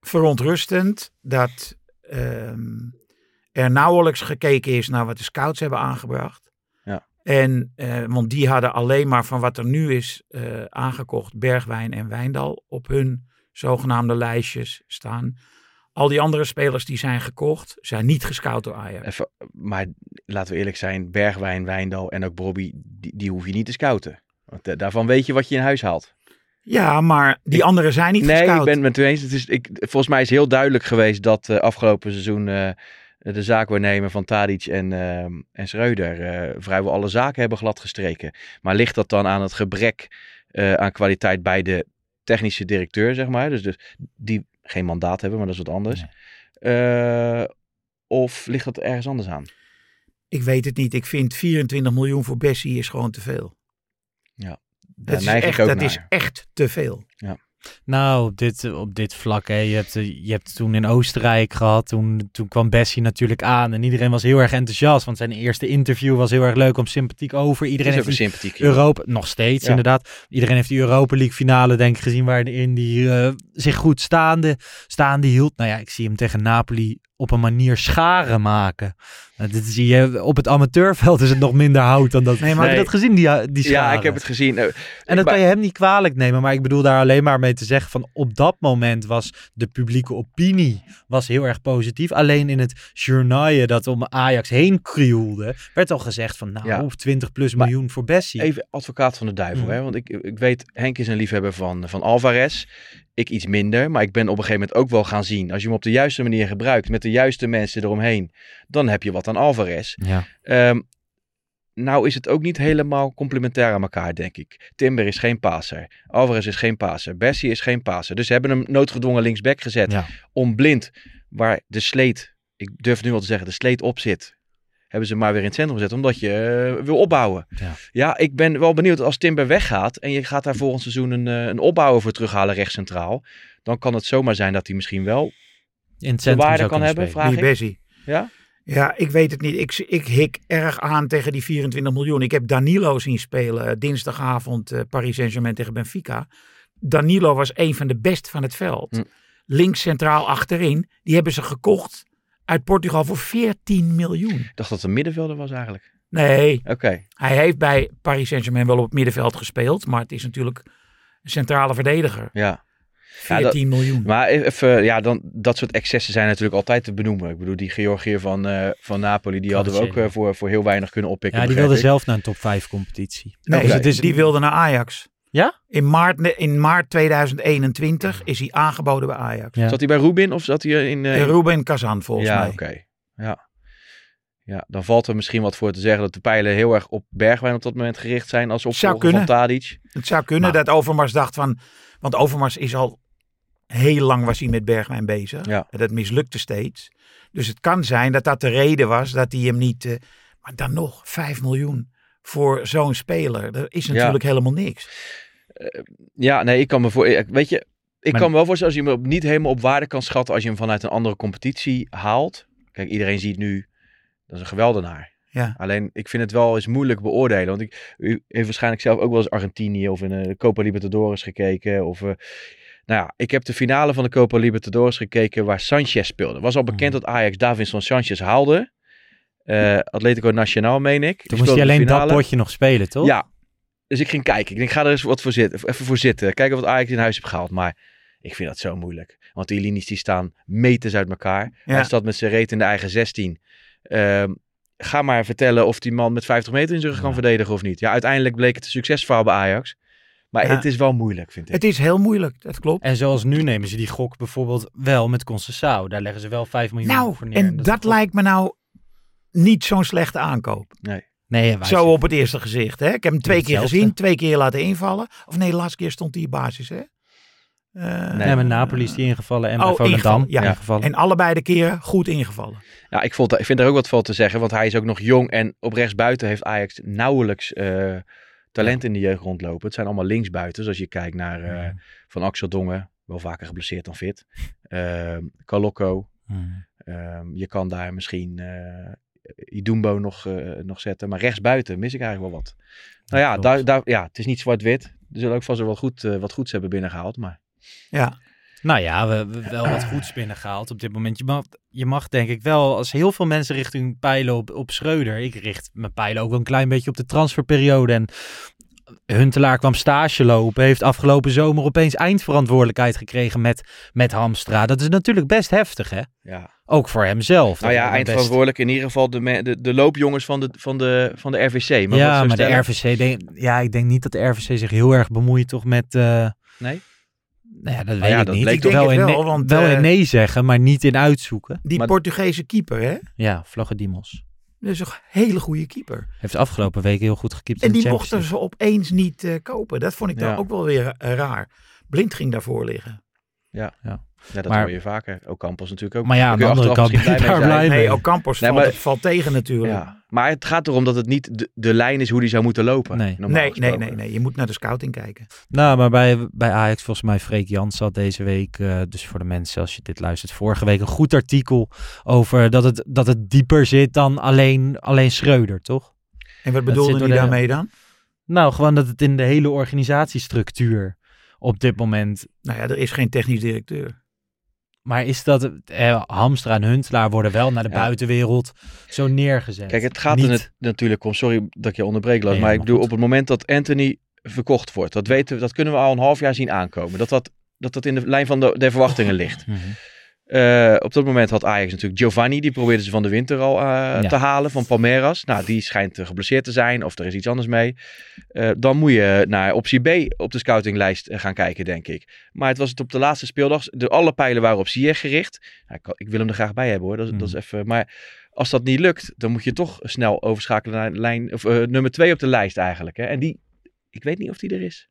E: verontrustend dat ehm, er nauwelijks gekeken is naar wat de scouts hebben aangebracht.
F: Ja.
E: En, eh, want die hadden alleen maar van wat er nu is eh, aangekocht, Bergwijn en Wijndal, op hun zogenaamde lijstjes staan. Al die andere spelers die zijn gekocht, zijn niet gescout door Ajax.
F: Even, maar laten we eerlijk zijn, Bergwijn, Wijndal en ook Bobby, die, die hoef je niet te scouten. Want da- daarvan weet je wat je in huis haalt.
E: Ja, maar die anderen zijn niet
F: nee,
E: gescout.
F: ik ben het met u eens. Het is, ik, volgens mij is heel duidelijk geweest dat eh, afgelopen seizoen eh, de zaakwaarnemer van Tadic en, eh, en Schreuder eh, vrijwel alle zaken hebben gladgestreken. Maar ligt dat dan aan het gebrek eh, aan kwaliteit bij de technische directeur, zeg maar? Dus, dus die geen mandaat hebben, maar dat is wat anders. Eh, of ligt dat ergens anders aan?
E: Ik weet het niet. Ik vind 24 miljoen voor Bessie is gewoon te veel.
F: Daar
E: Dat, is
F: neig
E: echt,
F: ik ook
E: dat
F: naar.
E: is echt te veel.
D: Nou, op dit, op dit vlak, hè. Je, hebt, eh, je hebt toen in Oostenrijk gehad. Toen, toen kwam Bessie natuurlijk aan. En iedereen was heel erg enthousiast. Want zijn eerste interview was heel erg leuk om sympathiek over.
F: Het
D: Iedereen
F: is
D: heeft
F: ook een
D: die
F: sympathiek. jongen.
D: Europa, nog steeds
F: Ja.
D: inderdaad. Iedereen heeft die Europa League finale denk ik gezien waarin die eh, zich goed staande, staande hield. Nou ja, ik zie hem tegen Napoli op een manier scharen maken. Nou, dit zie je, op het amateurveld is het nog minder hout dan dat.
E: Nee, maar-
D: Heb je dat gezien, die, eh, die scharen?
F: Ja, ik heb het gezien. Eh,
D: En dat
F: maar-
D: kan je hem niet kwalijk nemen, maar ik bedoel daar alleen maar mee te zeggen van op dat moment was de publieke opinie was heel erg positief. Alleen in het journaaien dat om Ajax heen krioelde, werd al gezegd van nou,
F: Ja.
D: 20 plus
F: Maar
D: miljoen voor Bessie.
F: Even advocaat van de duivel,
D: Mm.
F: hè? want ik, ik weet, Henk is een liefhebber van, van Alvarez. Ik iets minder, maar ik ben op een gegeven moment ook wel gaan zien. Als je hem op de juiste manier gebruikt, met de juiste mensen eromheen, dan heb je wat aan Alvarez.
D: Ja.
F: Ehm, nou is het ook niet helemaal complementair aan elkaar, denk ik. Timber is geen passer. Alvarez is geen passer. Bessie is geen passer. Dus ze hebben hem noodgedwongen linksback gezet.
D: Ja.
F: Om blind, waar de sleet, ik durf nu al te zeggen, de sleet op zit. Hebben ze hem maar weer in het centrum gezet, omdat je eh, wil opbouwen.
D: Ja.
F: ik ben wel benieuwd als Timber weggaat en je gaat daar volgend seizoen een, eh, een opbouwer voor terughalen rechtscentraal. Dan kan het zomaar zijn dat hij misschien wel
D: in het
F: de
D: centrum
F: waarde
D: zou
F: kan
D: kunnen
F: hebben.
D: spelen.
F: Vraag
E: Die
F: ik.
E: Bessie.
F: Ja?
E: Ja, ik weet het niet. Ik, ik hik erg aan tegen die 24 miljoen. Ik heb Danilo zien spelen eh, dinsdagavond eh, Paris Saint-Germain tegen Benfica. Danilo was een van de best van het veld.
F: Hm.
E: Links centraal achterin. Die hebben ze gekocht uit Portugal voor 14 miljoen.
F: Ik dacht dat het een middenvelder was eigenlijk.
E: Nee,
F: Oké.
E: hij heeft bij Paris Saint-Germain wel op het middenveld gespeeld. Maar het is natuurlijk een centrale verdediger.
F: Ja.
E: 14
F: Ja, dat-
E: miljoen.
F: Maar e-, even, ja, dan, dat soort excessen zijn natuurlijk altijd te benoemen. Ik bedoel, die Georgiër van, eh, van Napoli, die hadden we ook
D: Kvaratskhelia.
F: eh, voor, voor heel weinig kunnen oppikken.
D: Ja, die
F: begrijp
D: wilde
F: ik.
D: zelf naar een top 5 competitie.
E: Nee,
F: Oké.
E: Dus het is- die wilde naar Ajax.
D: Ja?
E: In maart, ne- in maart 2021 is hij aangeboden bij Ajax.
D: Ja.
F: Zat hij bij Rubin of zat hij in... eh,
E: Eh, Ruben Kazan volgens
F: ja,
E: mij.
F: oké. Ja. ja, dan valt er misschien wat voor te zeggen dat de pijlen heel erg op Bergwijn op dat moment gericht zijn als
E: Zou
F: opvolger
E: kunnen.
F: van Tadic.
E: Het zou kunnen dat Overmars dacht van... Want Overmars is al heel lang was hij met Bergwijn bezig.
F: Ja.
E: En dat mislukte steeds. Dus het kan zijn dat dat de reden was dat hij hem niet... eh, maar dan nog 5 miljoen voor zo'n speler. Dat is natuurlijk helemaal niks.
F: Ja, nee, ik kan me voor... ik- Weet je, ik
D: Maar-
F: kan me wel voorstellen als je hem op, niet helemaal op waarde kan schatten als je hem vanuit een andere competitie haalt. Kijk, iedereen ziet nu, dat is een geweldenaar.
E: Ja.
F: Alleen, ik vind het wel eens moeilijk beoordelen. Want ik, u heeft waarschijnlijk zelf ook wel eens Argentinië of in eh, de Copa Libertadores gekeken. Of, eh, nou ja, ik heb de finale van de Copa Libertadores gekeken waar Sanchez speelde. Was al bekend
D: Mhm.
F: dat Ajax Davinson Sanchez haalde. Eh, Atletico Nacional, meen ik. Die
D: Toen moest hij
F: speelde de
D: alleen dat
F: finale.
D: potje nog spelen, toch?
F: Ja. Dus ik ging kijken. Ik denk, ga er eens wat voor zitten, even voor zitten. Kijken wat Ajax in huis heeft gehaald. Maar ik vind dat zo moeilijk. Want die linies die staan meters uit elkaar.
E: Ja.
F: Hij staat met zijn reet in de eigen 16. Ehm, ga maar vertellen of die man met 50 meter in zijn rug kan verdedigen of niet. Ja, uiteindelijk bleek het een succesverhaal bij Ajax. Maar
E: Ja.
F: het is wel moeilijk, vind ik.
E: Het is heel moeilijk, dat klopt.
D: En zoals nu nemen ze die gok bijvoorbeeld wel met Concessao. Daar leggen ze wel 5 miljoen
E: Nou,
D: voor neer.
E: en
D: is een
E: dat
D: gok.
E: lijkt me nou niet zo'n slechte aankoop.
D: Nee, wij
E: Zo op het eerste gezicht. Hè? Ik heb hem twee keer
D: Hetzelfde.
E: gezien, twee keer laten invallen. Of nee, de laatste keer stond hij in basis. Hè? Eh,
F: Nee.
D: Nee, met Napoli is die ingevallen en bij
E: Oh,
D: Volendam
E: ingevallen, ja.
D: ingevallen.
E: En allebei de keren goed ingevallen.
F: Ja, ik, vond, ik vind daar ook wat van te zeggen, want hij is ook nog jong en op rechtsbuiten heeft Ajax nauwelijks eh, talent in de jeugd rondlopen. Het zijn allemaal linksbuitens als je kijkt naar eh, Van Axel Dongen, wel vaker geblesseerd dan fit. Ehm Kalokko, ehm, je kan daar misschien eh Idumbo nog, eh, nog zetten, maar rechtsbuiten mis ik eigenlijk wel wat. Nou ja,
D: klopt.
F: daar, daar, ja het is niet zwart-wit. Er zullen ook vast wel wat, goed, eh, wat goeds hebben binnengehaald, maar...
E: Ja,
D: Nou ja, we hebben wel wat goeds binnengehaald op dit moment. Je mag, je mag denk ik wel, als heel veel mensen richting pijlen op, op Schreuder. Ik richt mijn pijlen ook wel een klein beetje op de transferperiode. En Huntelaar kwam stage lopen. Heeft afgelopen zomer opeens eindverantwoordelijkheid gekregen met, met Hamstra. Dat is natuurlijk best heftig, hè?
F: Ja.
D: Ook voor hemzelf. Dat
F: Nou ja,
D: hij best-
F: eindverantwoordelijk in ieder geval de, me- de, de loopjongens van de, van de, van de RVC. Maar
D: ja, maar de RVC, denk- ja, ik denk niet dat de RVC zich heel erg bemoeit toch met... eh,
F: Nee?
D: Nou ja, dat weet
F: ja,
D: ik
F: dat
D: niet.
F: bleek
D: Ik
E: toch-
D: wel,
E: Ik
D: in
E: denk het
D: nee-
E: wel, want,
D: wel in
E: eh,
D: nee zeggen, maar niet in uitzoeken.
E: die
F: Maar-
E: Portugese keeper, hè?
D: Ja, Vlagodimos.
E: Dat is een hele goede keeper.
D: Heeft de afgelopen weken heel goed gekiept in
E: En
D: de
E: die
D: Champions
E: mochten ze opeens niet eh, kopen. Dat vond ik dan
F: Ja.
E: ook wel weer eh, raar. Blind ging daarvoor liggen.
F: Ja, dat
D: Maar-
F: hoor je vaker. Ocampos natuurlijk ook.
D: Maar ja, aan de
F: Daar kun je
D: andere
F: achteraf
D: kant ben je
F: misschien
D: daar blij
F: mee zijn.
E: Nee,
D: mee.
E: ook Campos
F: Nee,
E: valt,
F: maar-
E: valt tegen natuurlijk.
F: Ja. Maar het gaat erom dat het niet de, de lijn is hoe die zou moeten lopen.
D: Nee.
F: normaal
E: Nee, nee,
F: gesproken.
E: nee, nee. Je moet naar de scouting kijken.
D: Nou, maar bij, bij Ajax volgens mij Freek Jans had deze week, eh, dus voor de mensen als je dit luistert, vorige week een goed artikel over dat het, dat het dieper zit dan alleen, alleen Schreuder, toch?
E: En wat
D: zit
E: bedoelde
D: door
E: hij
D: de-
E: daarmee dan?
D: Nou, gewoon dat het in de hele organisatiestructuur op dit moment.
E: Nou ja, er is geen technisch directeur.
D: Maar is dat, eh, Hamstra en Huntelaar worden wel naar de
F: Ja.
D: buitenwereld zo neergezet.
F: Kijk, het gaat er
D: Niet-
F: nat- natuurlijk om. Sorry dat ik je onderbreek, Lars.
D: Nee,
F: maar
D: helemaal
F: ik bedoel,
D: goed.
F: op het moment dat Anthony verkocht wordt, dat, weten we, dat kunnen we al een half jaar zien aankomen. Dat dat, dat, dat in de lijn van de, der verwachtingen ligt.
D: Mhm.
F: Eh, op dat moment had Ajax natuurlijk Giovanni, die probeerden ze van de winter al eh, te halen, van Palmeiras. Nou, die schijnt eh, geblesseerd te zijn of er is iets anders mee. Eh, dan moet je naar optie B op de scoutinglijst eh, gaan kijken, denk ik. Maar het was het op de laatste speeldag. De, alle pijlen waren op Ziyech gericht. Nou, ik, kan- ik wil hem er graag bij hebben hoor, dat, is-
D: Mhm.
F: dat is even... Maar als dat niet lukt, dan moet je toch snel overschakelen naar lijn, of, eh, nummer 2 op de lijst eigenlijk. Hè? En die, ik weet niet of die er is.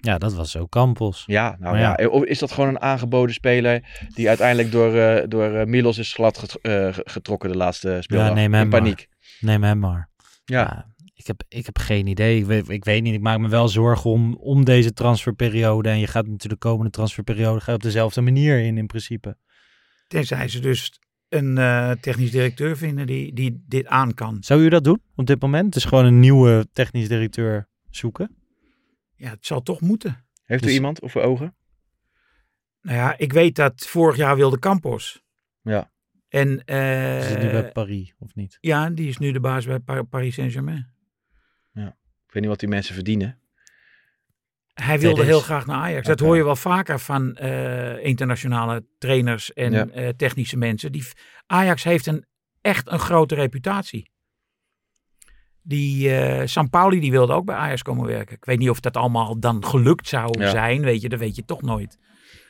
D: Ja, dat was zo Campos.
F: Ja, nou
D: Maar
F: ja.
D: ja.
F: Of Is dat gewoon een aangeboden speler die uiteindelijk door, eh, door eh, Milos is glad get- eh, getrokken de laatste speeldag?
D: Ja, neem
F: In
D: hem
F: paniek.
D: Neem hem maar.
F: Ja.
D: ik, heb, ik heb geen idee. Ik weet, ik weet niet. Ik maak me wel zorgen om, om deze transferperiode. En je gaat natuurlijk de komende transferperiode ga je op dezelfde manier in, in principe.
E: Tenzij ze dus een eh, technisch directeur vinden die, die dit aan kan.
D: Zou u dat doen op dit moment? Dus gewoon een nieuwe technisch directeur zoeken?
E: Ja, het zal toch moeten.
F: Heeft u
D: Dus-
F: iemand of ogen?
E: Nou ja, ik weet dat vorig jaar wilde Campos.
F: Ja.
E: En eh,
D: Is het nu bij Paris of niet?
E: ja, die is nu de baas bij Pa- Paris Saint-Germain.
F: Ik weet niet wat die mensen verdienen.
E: Hij wilde
D: Tedeschi.
E: heel graag naar Ajax. Dat
F: Oké.
E: hoor je wel vaker van eh, internationale trainers en
F: Ja.
E: eh, technische mensen. Die, Ajax heeft een, echt een grote reputatie. Die eh Sampaoli die wilde ook bij Ajax komen werken. Ik weet niet of dat allemaal dan gelukt zou
F: Ja.
E: zijn, weet je, dat weet je toch nooit.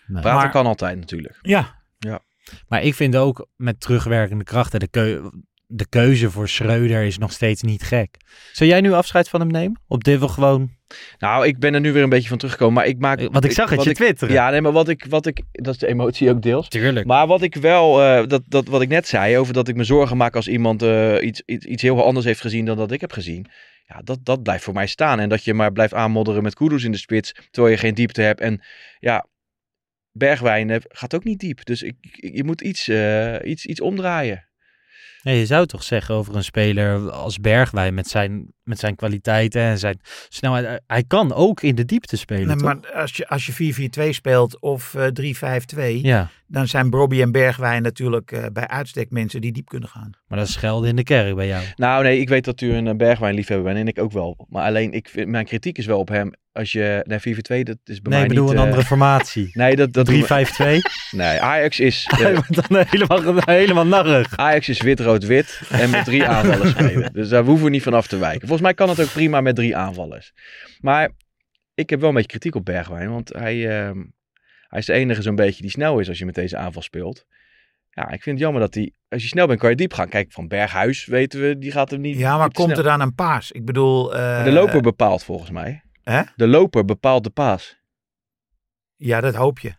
F: Praten
E: Maar-
F: kan altijd natuurlijk.
E: Ja,
D: Maar ik vind ook met terugwerkende krachten de, keu- de keuze voor Schreuder is nog steeds niet gek. Zou jij nu afscheid van hem nemen? Op dit wel gewoon.
F: Nou, ik ben er nu weer een beetje van teruggekomen, maar ik maak...
D: Want ik zag het
F: wat
D: je
F: ik-
D: twitteren.
F: Ja, nee, maar wat ik, wat ik... Dat is de emotie ook deels.
D: tuurlijk.
F: Maar wat ik wel, eh, dat, dat, wat ik net zei over dat ik me zorgen maak als iemand eh, iets, iets, iets heel anders heeft gezien dan dat ik heb gezien. Ja, dat, dat blijft voor mij staan. En dat je maar blijft aanmodderen met koeders in de spits, terwijl je geen diepte hebt. En ja, Bergwijn eh, gaat ook niet diep. Dus ik, ik- je moet iets, eh, iets, iets omdraaien.
D: Ja, je zou toch zeggen over een speler als Bergwijn met zijn, met zijn kwaliteiten en zijn snelheid. Hij- Hij kan ook in de diepte spelen,
E: nee,
D: toch?
E: maar als je, als je 4-4-2 speelt of eh 3-5-2,
D: Ja,
E: dan zijn Bobby en Bergwijn natuurlijk eh, bij uitstek mensen die diep kunnen gaan.
D: maar dat is schelden in de kerk bij jou.
F: Nou nee, ik weet dat u een eh, Bergwijn liefhebber bent en ik ook wel. Maar alleen, ik, vind- mijn kritiek is wel op hem. Als je, nee, 4-4-2, dat is bij
D: nee,
F: mij
D: ik bedoel
F: niet...
D: een
F: eh,
D: andere formatie.
F: Nee, dat, dat
D: 3-5-2.
F: doen we- Nee, Ajax is... eh,
D: Hij wordt dan helemaal, helemaal narrig.
F: Ajax is wit-rood-wit en met drie aanvallers spelen. Dus daar hoeven we niet van af te wijken. Volgens mij kan het ook prima met drie aanvallers. Maar ik heb wel een beetje kritiek op Bergwijn. Want hij, ehm, hij is de enige zo'n beetje die snel is als je met deze aanval speelt. Ja, ik vind het jammer dat hij... Als je snel bent, kan je diep gaan. Kijk, van Berghuis weten we, die gaat hem niet...
E: Ja, maar
F: niet te
E: komt
F: snel.
E: er dan een paas? Ik bedoel... eh,
F: De loper bepaalt volgens mij.
E: Hè?
F: De loper bepaalt de paas.
E: Ja, dat hoop je.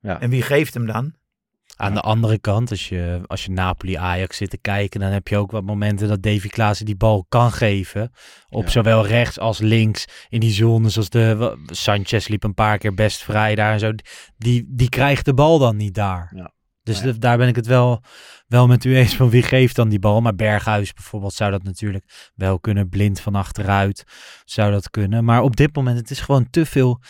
F: Ja.
E: En wie geeft hem dan?
D: Aan de andere kant, als je, als je Napoli-Ajax zit te kijken, dan heb je ook wat momenten dat Davy Klaassen die bal kan geven. Op
F: Ja.
D: zowel rechts als links in die zones als de... wa- Sanchez liep een paar keer best vrij daar en zo. Die, die krijgt de bal dan niet daar.
F: Ja.
D: Dus de- daar ben ik het wel, wel met u eens van wie geeft dan die bal. Maar Berghuis bijvoorbeeld zou dat natuurlijk wel kunnen. Blind van achteruit zou dat kunnen. Maar op dit moment, het is gewoon te veel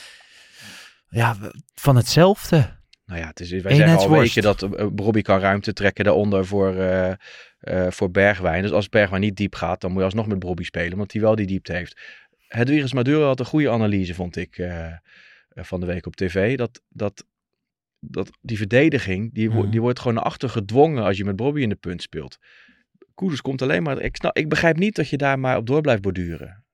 D: ja, van hetzelfde.
F: Nou ja, het is, wij zeggen al weet
D: Eenheidsworst.
F: je dat eh, Robbie kan ruimte trekken daaronder voor, eh, eh, voor Bergwijn. Dus als Bergwijn niet diep gaat, dan moet je alsnog met Robbie spelen, want die wel die diepte heeft. Hedwiges Maduro had een goede analyse, vond ik, eh, eh, van de week op tv. Dat, dat, dat die verdediging, die, wo-
D: Mhm.
F: die wordt gewoon naar achter gedwongen als je met Robbie in de punt speelt. Koeders komt alleen maar... Ik, snap, ik begrijp niet dat je daar maar op door blijft borduren.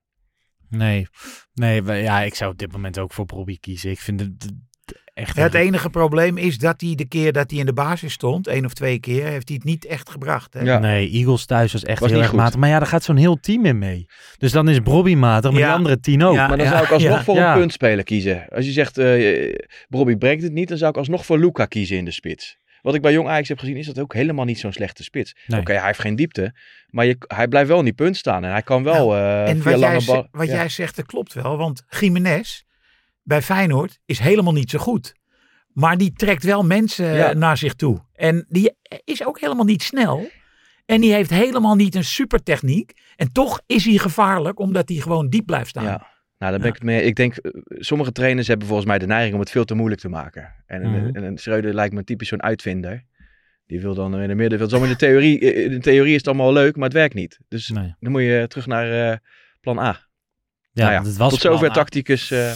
D: Nee, nee we- ja, ik zou op dit moment ook voor Bobby kiezen. Ik vind het het- het e- echt...
E: Het enige probleem is dat hij de keer dat hij in de basis stond, één of twee keer, heeft hij het niet echt gebracht. Hè?
F: Ja.
D: Nee, Eagles thuis was echt
F: Was
D: heel
F: niet
D: erg
F: goed.
D: matig. Maar ja, daar gaat zo'n heel team in mee. Dus dan is Bobby matig, maar
E: Ja.
D: die andere tien ook.
E: Ja,
F: Maar dan zou ik alsnog
D: ja,
F: voor
D: ja.
F: een puntspeler kiezen. Als je zegt, eh Robbie brengt het niet, dan zou ik alsnog voor Luca kiezen in de spits. Wat ik bij Jong Ajax heb gezien, is dat ook helemaal niet zo'n slechte spits.
D: Nee.
F: Oké, hij heeft geen diepte, maar je, hij blijft wel in die punt staan. En hij kan wel eh
E: Nou, en
F: via
E: wat, jij,
F: lange
E: ze-
F: bal...
E: wat
F: ja.
E: jij zegt, dat klopt wel. Want Jiménez bij Feyenoord is helemaal niet zo goed. Maar die trekt wel mensen
F: Ja.
E: naar zich toe. En die is ook helemaal niet snel. En die heeft helemaal niet een supertechniek. En toch is hij gevaarlijk, omdat hij gewoon diep blijft staan.
F: Ja. Nou, daar ben ik het mee. Ik denk, eh, sommige trainers hebben volgens mij de neiging om het veel te moeilijk te maken. En, een-
D: Mhm.
F: en, een Schreuder lijkt me typisch zo'n uitvinder. Die wil dan in de midden. Zomaar in de theorie, eh, in de theorie is het allemaal leuk, maar het werkt niet. Dus
D: Nee.
F: dan moet je terug naar eh, plan A.
D: Ja,
F: Nou ja,
D: dat was
F: Tot zover
D: plan A.
F: tacticus eh,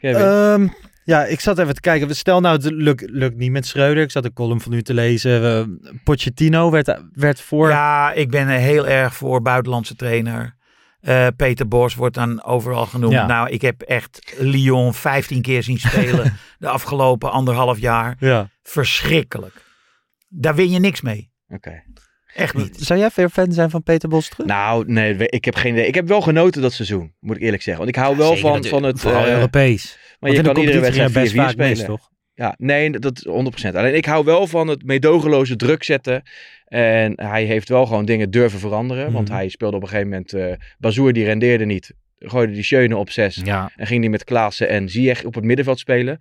F: Kevin.
D: Ehm, ja, ik zat even te kijken. Stel nou, het lukt, lukt niet met Schreuder. Ik zat een column van u te lezen. We- Pochettino werd, werd voor...
E: Ja, ik ben er heel erg voor buitenlandse trainer. Eh, Peter Bos wordt dan overal genoemd.
D: Ja.
E: Nou, ik heb echt Lyon 15 keer zien spelen de afgelopen anderhalf jaar.
D: Ja.
E: Verschrikkelijk. Daar win je niks mee.
F: Oké.
E: Echt niet.
D: Zou jij veel fan zijn van Peter Bos terug?
F: Nou, nee, we- ik heb geen idee. Ik heb wel genoten dat seizoen, moet ik eerlijk zeggen. Want ik hou wel van, van het...
D: Vooral
F: eh,
D: Europees.
F: maar
D: Want
F: je
D: in de
F: kan iedere
D: competitie
F: wedstrijd 4-4
D: ging hij best vaak
F: spelen.
D: mis, toch?
F: Ja, nee, dat is 100%. Alleen ik hou wel van het meedogenloze druk zetten. En hij heeft wel gewoon dingen durven veranderen. Want
D: Mhm.
F: hij speelde op een gegeven moment... eh Bazoer, die rendeerde niet. Gooide die Schöne op 6.
D: Ja.
F: En ging die met Klaassen en Ziyech op het middenveld spelen.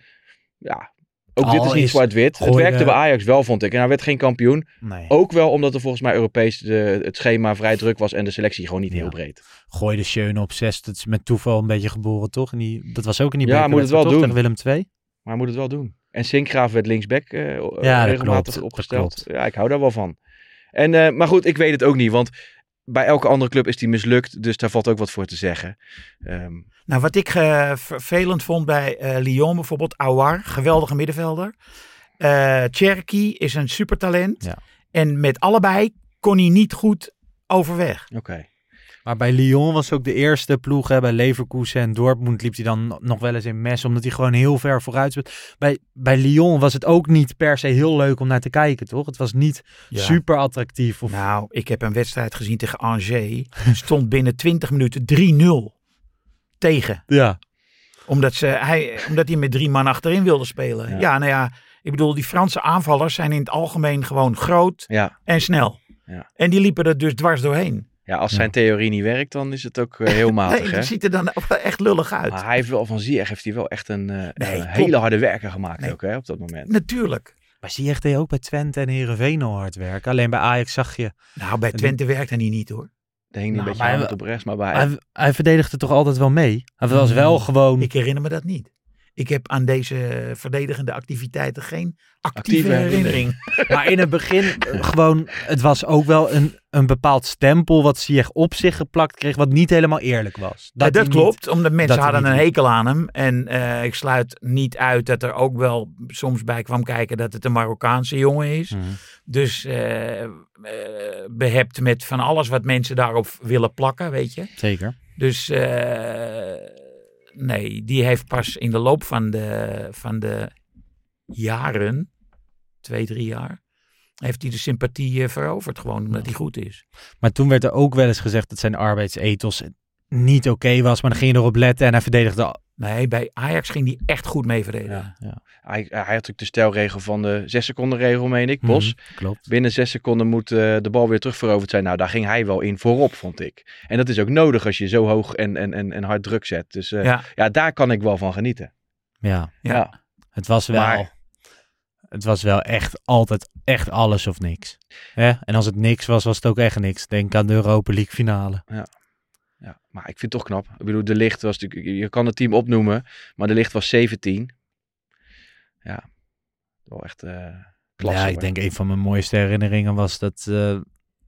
F: Ja, ook dit
D: Al
F: is niet
D: is- eh,
F: zwart-wit. Het
D: gooide-
F: werkte bij Ajax wel, vond ik. En hij werd geen kampioen.
D: Nee.
F: Ook wel omdat er volgens mij Europees de, het schema vrij druk was en de selectie gewoon niet
D: Ja.
F: heel breed.
D: Gooi de Schöne op zes. Dat is met toeval een beetje geboren, toch? En die, dat was ook in die
F: Ja, moet het
D: bekerwedstrijd,
F: wel
D: toch?
F: doen.
D: Tegen Willem II.
F: Maar hij moet het wel doen. En Sinkgraaf werd linksback eh, o-
D: Ja, dat
F: regelmatig
D: klopt. Dat
F: opgesteld.
D: klopt.
F: Ja, ik hou daar wel van. En, eh, maar goed, ik weet het ook niet, want bij elke andere club is die mislukt, dus daar valt ook wat voor te zeggen. Ehm,
E: Nou, wat ik eh, vervelend vond bij eh, Lyon bijvoorbeeld, Aouar, geweldige middenvelder. Eh Cherky is een supertalent.
D: Ja.
E: En met allebei kon hij niet goed overweg.
F: Oké.
D: Maar bij Lyon was ook de eerste ploeg. Hè, bij Leverkusen en Dortmund liep hij dan nog wel eens in mes. Omdat hij gewoon heel ver vooruit speelt. Bij, bij Lyon was het ook niet per se heel leuk om naar te kijken, toch? Het was niet
E: Ja.
D: super attractief. Of...
E: Nou, ik heb een wedstrijd gezien tegen Angers. Stond binnen 20 minuten 3-0 tegen.
D: Ja.
E: Omdat, ze, hij, omdat hij met drie man achterin wilde spelen. Ja.
F: Ja.
E: nou ja. Ik bedoel, die Franse aanvallers zijn in het algemeen gewoon groot
F: Ja.
E: en snel.
F: Ja.
E: En die liepen er dus dwars doorheen.
F: ja, als zijn theorie niet werkt, dan is het ook eh, heel matig.
E: nee,
F: hè?
E: dat ziet er dan wel echt lullig uit.
F: Maar hij heeft wel van Ziyech heeft hij wel echt een, eh, een
E: klopt.
F: hele harde werker gemaakt
E: Nee.
F: ook hè, op dat moment.
E: Natuurlijk.
D: Maar zie je echt ook bij Twente en Heerenveen al hard werken. Alleen bij Ajax zag je...
E: Nou, bij
D: En-
E: Twente werkt hij niet hoor.
F: Hij hing
D: Nou,
F: een beetje
D: maar hij-
F: hand op rechts, maar bij
D: Hij, hij verdedigde toch altijd wel mee? Hij was
E: Mm.
D: wel gewoon...
E: Ik herinner me dat niet. Ik heb aan deze verdedigende activiteiten geen actieve,
F: Actieve
E: herinnering.
D: Maar in het begin eh, gewoon, het was ook wel een, een bepaald stempel wat Ziyech op zich geplakt kreeg, wat niet helemaal eerlijk was.
E: Dat,
D: hij
E: dat
D: niet-
E: klopt, omdat mensen
D: hij
E: hadden
D: niet
E: een
D: liep.
E: hekel aan hem. En eh, ik sluit niet uit dat er ook wel soms bij kwam kijken dat het een Marokkaanse jongen is. Dus eh, eh, behept met van alles wat mensen daarop willen plakken, weet je.
D: Zeker.
E: Dus eh, nee, die heeft pas in de loop van de, van de jaren, twee, drie jaar, heeft hij de sympathie eh, veroverd. Gewoon omdat hij goed is.
D: Maar toen werd er ook wel eens gezegd dat zijn arbeidsethos niet oké was, maar dan ging je erop letten en hij verdedigde
E: Nee, bij Ajax ging hij echt goed mee verdedigen.
F: Ja, Hij, hij had natuurlijk de stelregel van de zes seconden regel, meen ik, Bos.
D: Mhm. Klopt.
F: Binnen zes seconden moet eh, de bal weer terugveroverd zijn. Nou, daar ging hij wel in voorop, vond ik. En dat is ook nodig als je zo hoog en, en, en, en hard druk zet. Dus eh, ja.
E: Ja.
F: daar kan ik wel van genieten.
D: Ja,
E: Ja.
F: Ja.
D: het was wel...
F: Maar-
D: Het was wel echt altijd echt alles of niks. Hè? En als het niks was, was het ook echt niks. Denk aan de Europa League finale.
F: Ja. Maar ik vind het toch knap. Ik bedoel, de licht was natuurlijk... Je kan het team opnoemen, maar de licht was 17. Ja, wel echt eh klasse.
D: ja, ik
F: hoor.
D: denk een van mijn mooiste herinneringen was dat eh,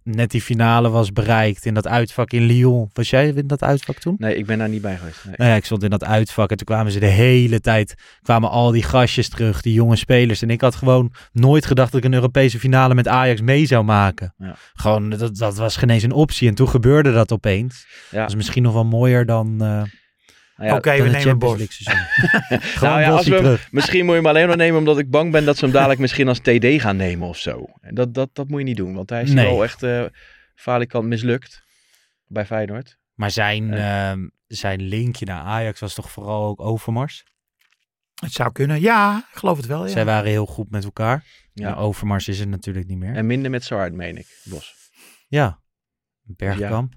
D: net die finale was bereikt in dat uitvak in Lyon. Was jij in dat uitvak toen?
F: Nee, ik ben daar niet bij geweest. Nee.
D: Nou ja, ik stond in dat uitvak en toen kwamen ze de hele tijd, kwamen al die gastjes terug, die jonge spelers. En ik had gewoon nooit gedacht dat ik een Europese finale met Ajax mee zou maken.
F: Ja.
D: Gewoon, dat, dat was geen eens een optie. En toen gebeurde dat opeens.
F: Ja.
D: Dat is misschien nog wel mooier dan, eh
F: Nou ja,
E: Oké, we
D: dan het
E: nemen
D: Champions
E: Bos.
D: League seizoen. gewoon
F: Nou ja, als
D: Bossie
F: we hem-
D: terug.
F: Misschien moet je hem alleen maar nemen omdat ik bang ben dat ze hem dadelijk misschien als TD gaan nemen of zo. En Dat, dat, dat moet je niet doen, want hij is hier
D: Nee.
F: wel echt eh falikant mislukt bij Feyenoord.
D: Maar zijn,
F: Ja.
D: ehm, zijn linkje naar Ajax was toch vooral ook Overmars?
E: Het zou kunnen. Ja, ik geloof het wel. Oh, Ja.
D: Zij waren heel goed met elkaar.
F: Ja.
D: Ja. Overmars is het natuurlijk niet meer.
F: En minder met Saard, meen ik, Bos.
D: Ja. Bergkamp.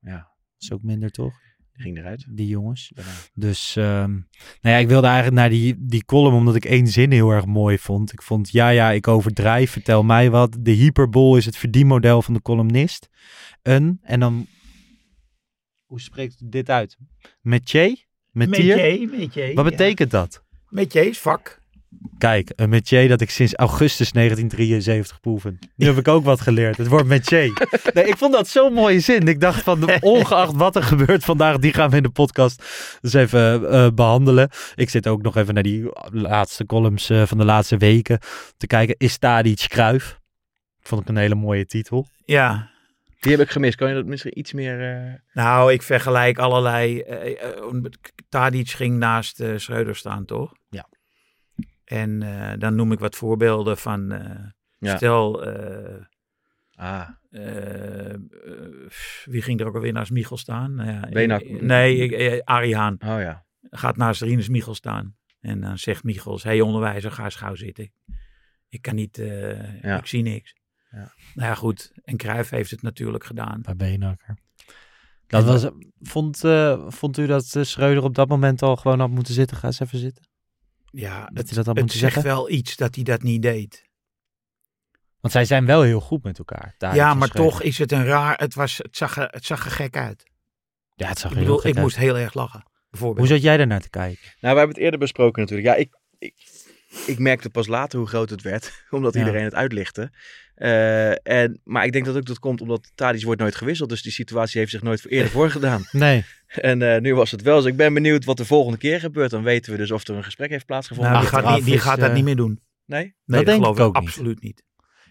F: Ja,
D: Is ook minder toch?
F: die ging eruit.
D: Die jongens.
F: Daarna.
D: Dus, ehm, nou ja, ik wilde eigenlijk naar die, die column omdat ik één zin heel erg mooi vond. Ik vond, ja, ja, ik overdrijf, vertel mij wat. De hyperbol is het verdienmodel van de columnist. Een, en dan, hoe spreekt dit uit? Metier? Metier?
E: Metier, metier,
D: Wat
E: ja.
D: betekent dat?
E: Metier is vak.
D: Kijk, een metier dat ik sinds augustus 1973 beoefen. Nu heb ik ook wat geleerd. Het wordt metier. Nee, ik vond dat zo'n mooie zin. Ik dacht van, ongeacht wat er gebeurt vandaag, die gaan we in de podcast eens even eh, behandelen. Ik zit ook nog even naar die laatste columns eh, van de laatste weken te kijken. Is Tadic Kruif? Vond ik een hele mooie titel.
E: Ja.
F: Die heb ik gemist. Kan je dat misschien iets meer... eh,
E: Nou, ik vergelijk allerlei. eh, eh, Tadic ging naast eh Schreuder staan, toch?
D: Ja.
E: En eh, dan noem ik wat voorbeelden van. eh,
F: Ja.
E: Stel, eh,
F: Ah,
E: eh, eh, wie ging er ook alweer naast Michel staan? Nou ja,
F: Benak.
E: eh, Nee, ik- eh, Arie Haan
F: oh ja.
E: gaat naast Rinus Michel staan. En dan zegt Michels, hé hey, onderwijzer, ga eens gauw zitten. Ik kan niet, eh,
F: Ja.
E: ik zie niks.
F: Ja.
E: Nou ja, goed. En Cruijff heeft het natuurlijk gedaan.
D: Bij Beenhakker. Dat was, vond, eh, vond u dat eh, Schreuder op dat moment al gewoon had moeten zitten? Ga eens even zitten.
E: Ja,
D: Dat
E: het,
D: hij dat had
E: het
D: moeten
E: zegt
D: zeggen?
E: wel iets dat hij dat niet deed.
D: Want zij zijn wel heel goed met elkaar. Tadic
E: ja,
D: en
E: maar
D: Schreuder.
E: toch is het een raar, het, was, het, zag, er- het zag er gek uit.
D: Ja, het zag
E: Ik
D: er heel
E: bedoel,
D: gek
E: ik
D: uit.
E: moest heel erg lachen. Bijvoorbeeld.
D: Hoe zat jij daarnaar te kijken?
F: Nou, we hebben het eerder besproken natuurlijk. Ja, ik, ik, ik merkte pas later hoe groot het werd, omdat
D: Ja.
F: iedereen het uitlichtte. Eh, en, maar ik denk dat ook dat komt omdat Tadic wordt nooit gewisseld. Dus die situatie heeft zich nooit eerder voorgedaan.
D: Nee.
F: En eh, nu was het wel. Dus ik ben benieuwd wat de volgende keer gebeurt. Dan weten we dus of er een gesprek heeft plaatsgevonden.
E: Nou, die
D: achteraf
E: gaat, niet- die
D: is,
E: gaat dat
D: eh,
E: niet meer doen.
F: Nee?
E: Nee,
D: denk
E: geloof
D: ik ook niet.
E: absoluut niet.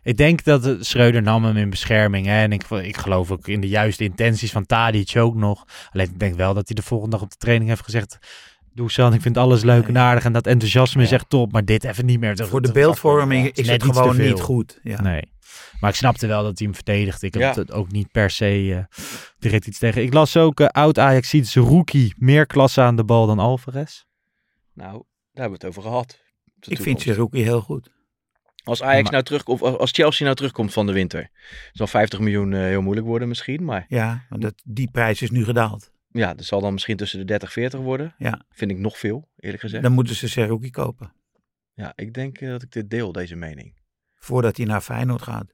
D: Ik denk dat eh, Schreuder nam hem in bescherming. Hè? En ik, ik geloof ook in de juiste intenties van Tadic ook nog. Alleen ik denk wel dat hij de volgende dag op de training heeft gezegd... Doe San, ik vind alles leuk en aardig en dat enthousiasme is echt top. Maar dit even niet meer. Dat-
E: Voor de
D: dat-
E: beeldvorming
D: dat
E: is
D: eh, net
E: het
D: iets te
E: gewoon
D: veel.
E: niet goed. Ja.
D: Nee. Maar ik snapte wel dat hij hem verdedigde. Ik
F: Ja.
D: had het ook niet per se eh, direct iets tegen. Ik las ook eh, oud ajax rookie meer klasse aan de bal dan Alvarez.
F: Nou, daar hebben we het over gehad. Op de
E: Ik vind
F: toekomst.
E: Zerouki heel goed.
F: Als Ajax
D: Maar-
F: nou terug, of als Chelsea nou terugkomt van de winter, zal 50 miljoen eh, heel moeilijk worden misschien. Maar
E: Ja, want dat, die prijs is nu gedaald.
F: ja, dat zal dan misschien tussen de 30 40 worden.
E: Ja.
F: Vind ik nog veel, eerlijk gezegd.
E: Dan moeten ze Zerouki kopen.
F: Ja, ik denk eh, dat ik dit deel, deze mening.
E: Voordat hij naar Feyenoord gaat.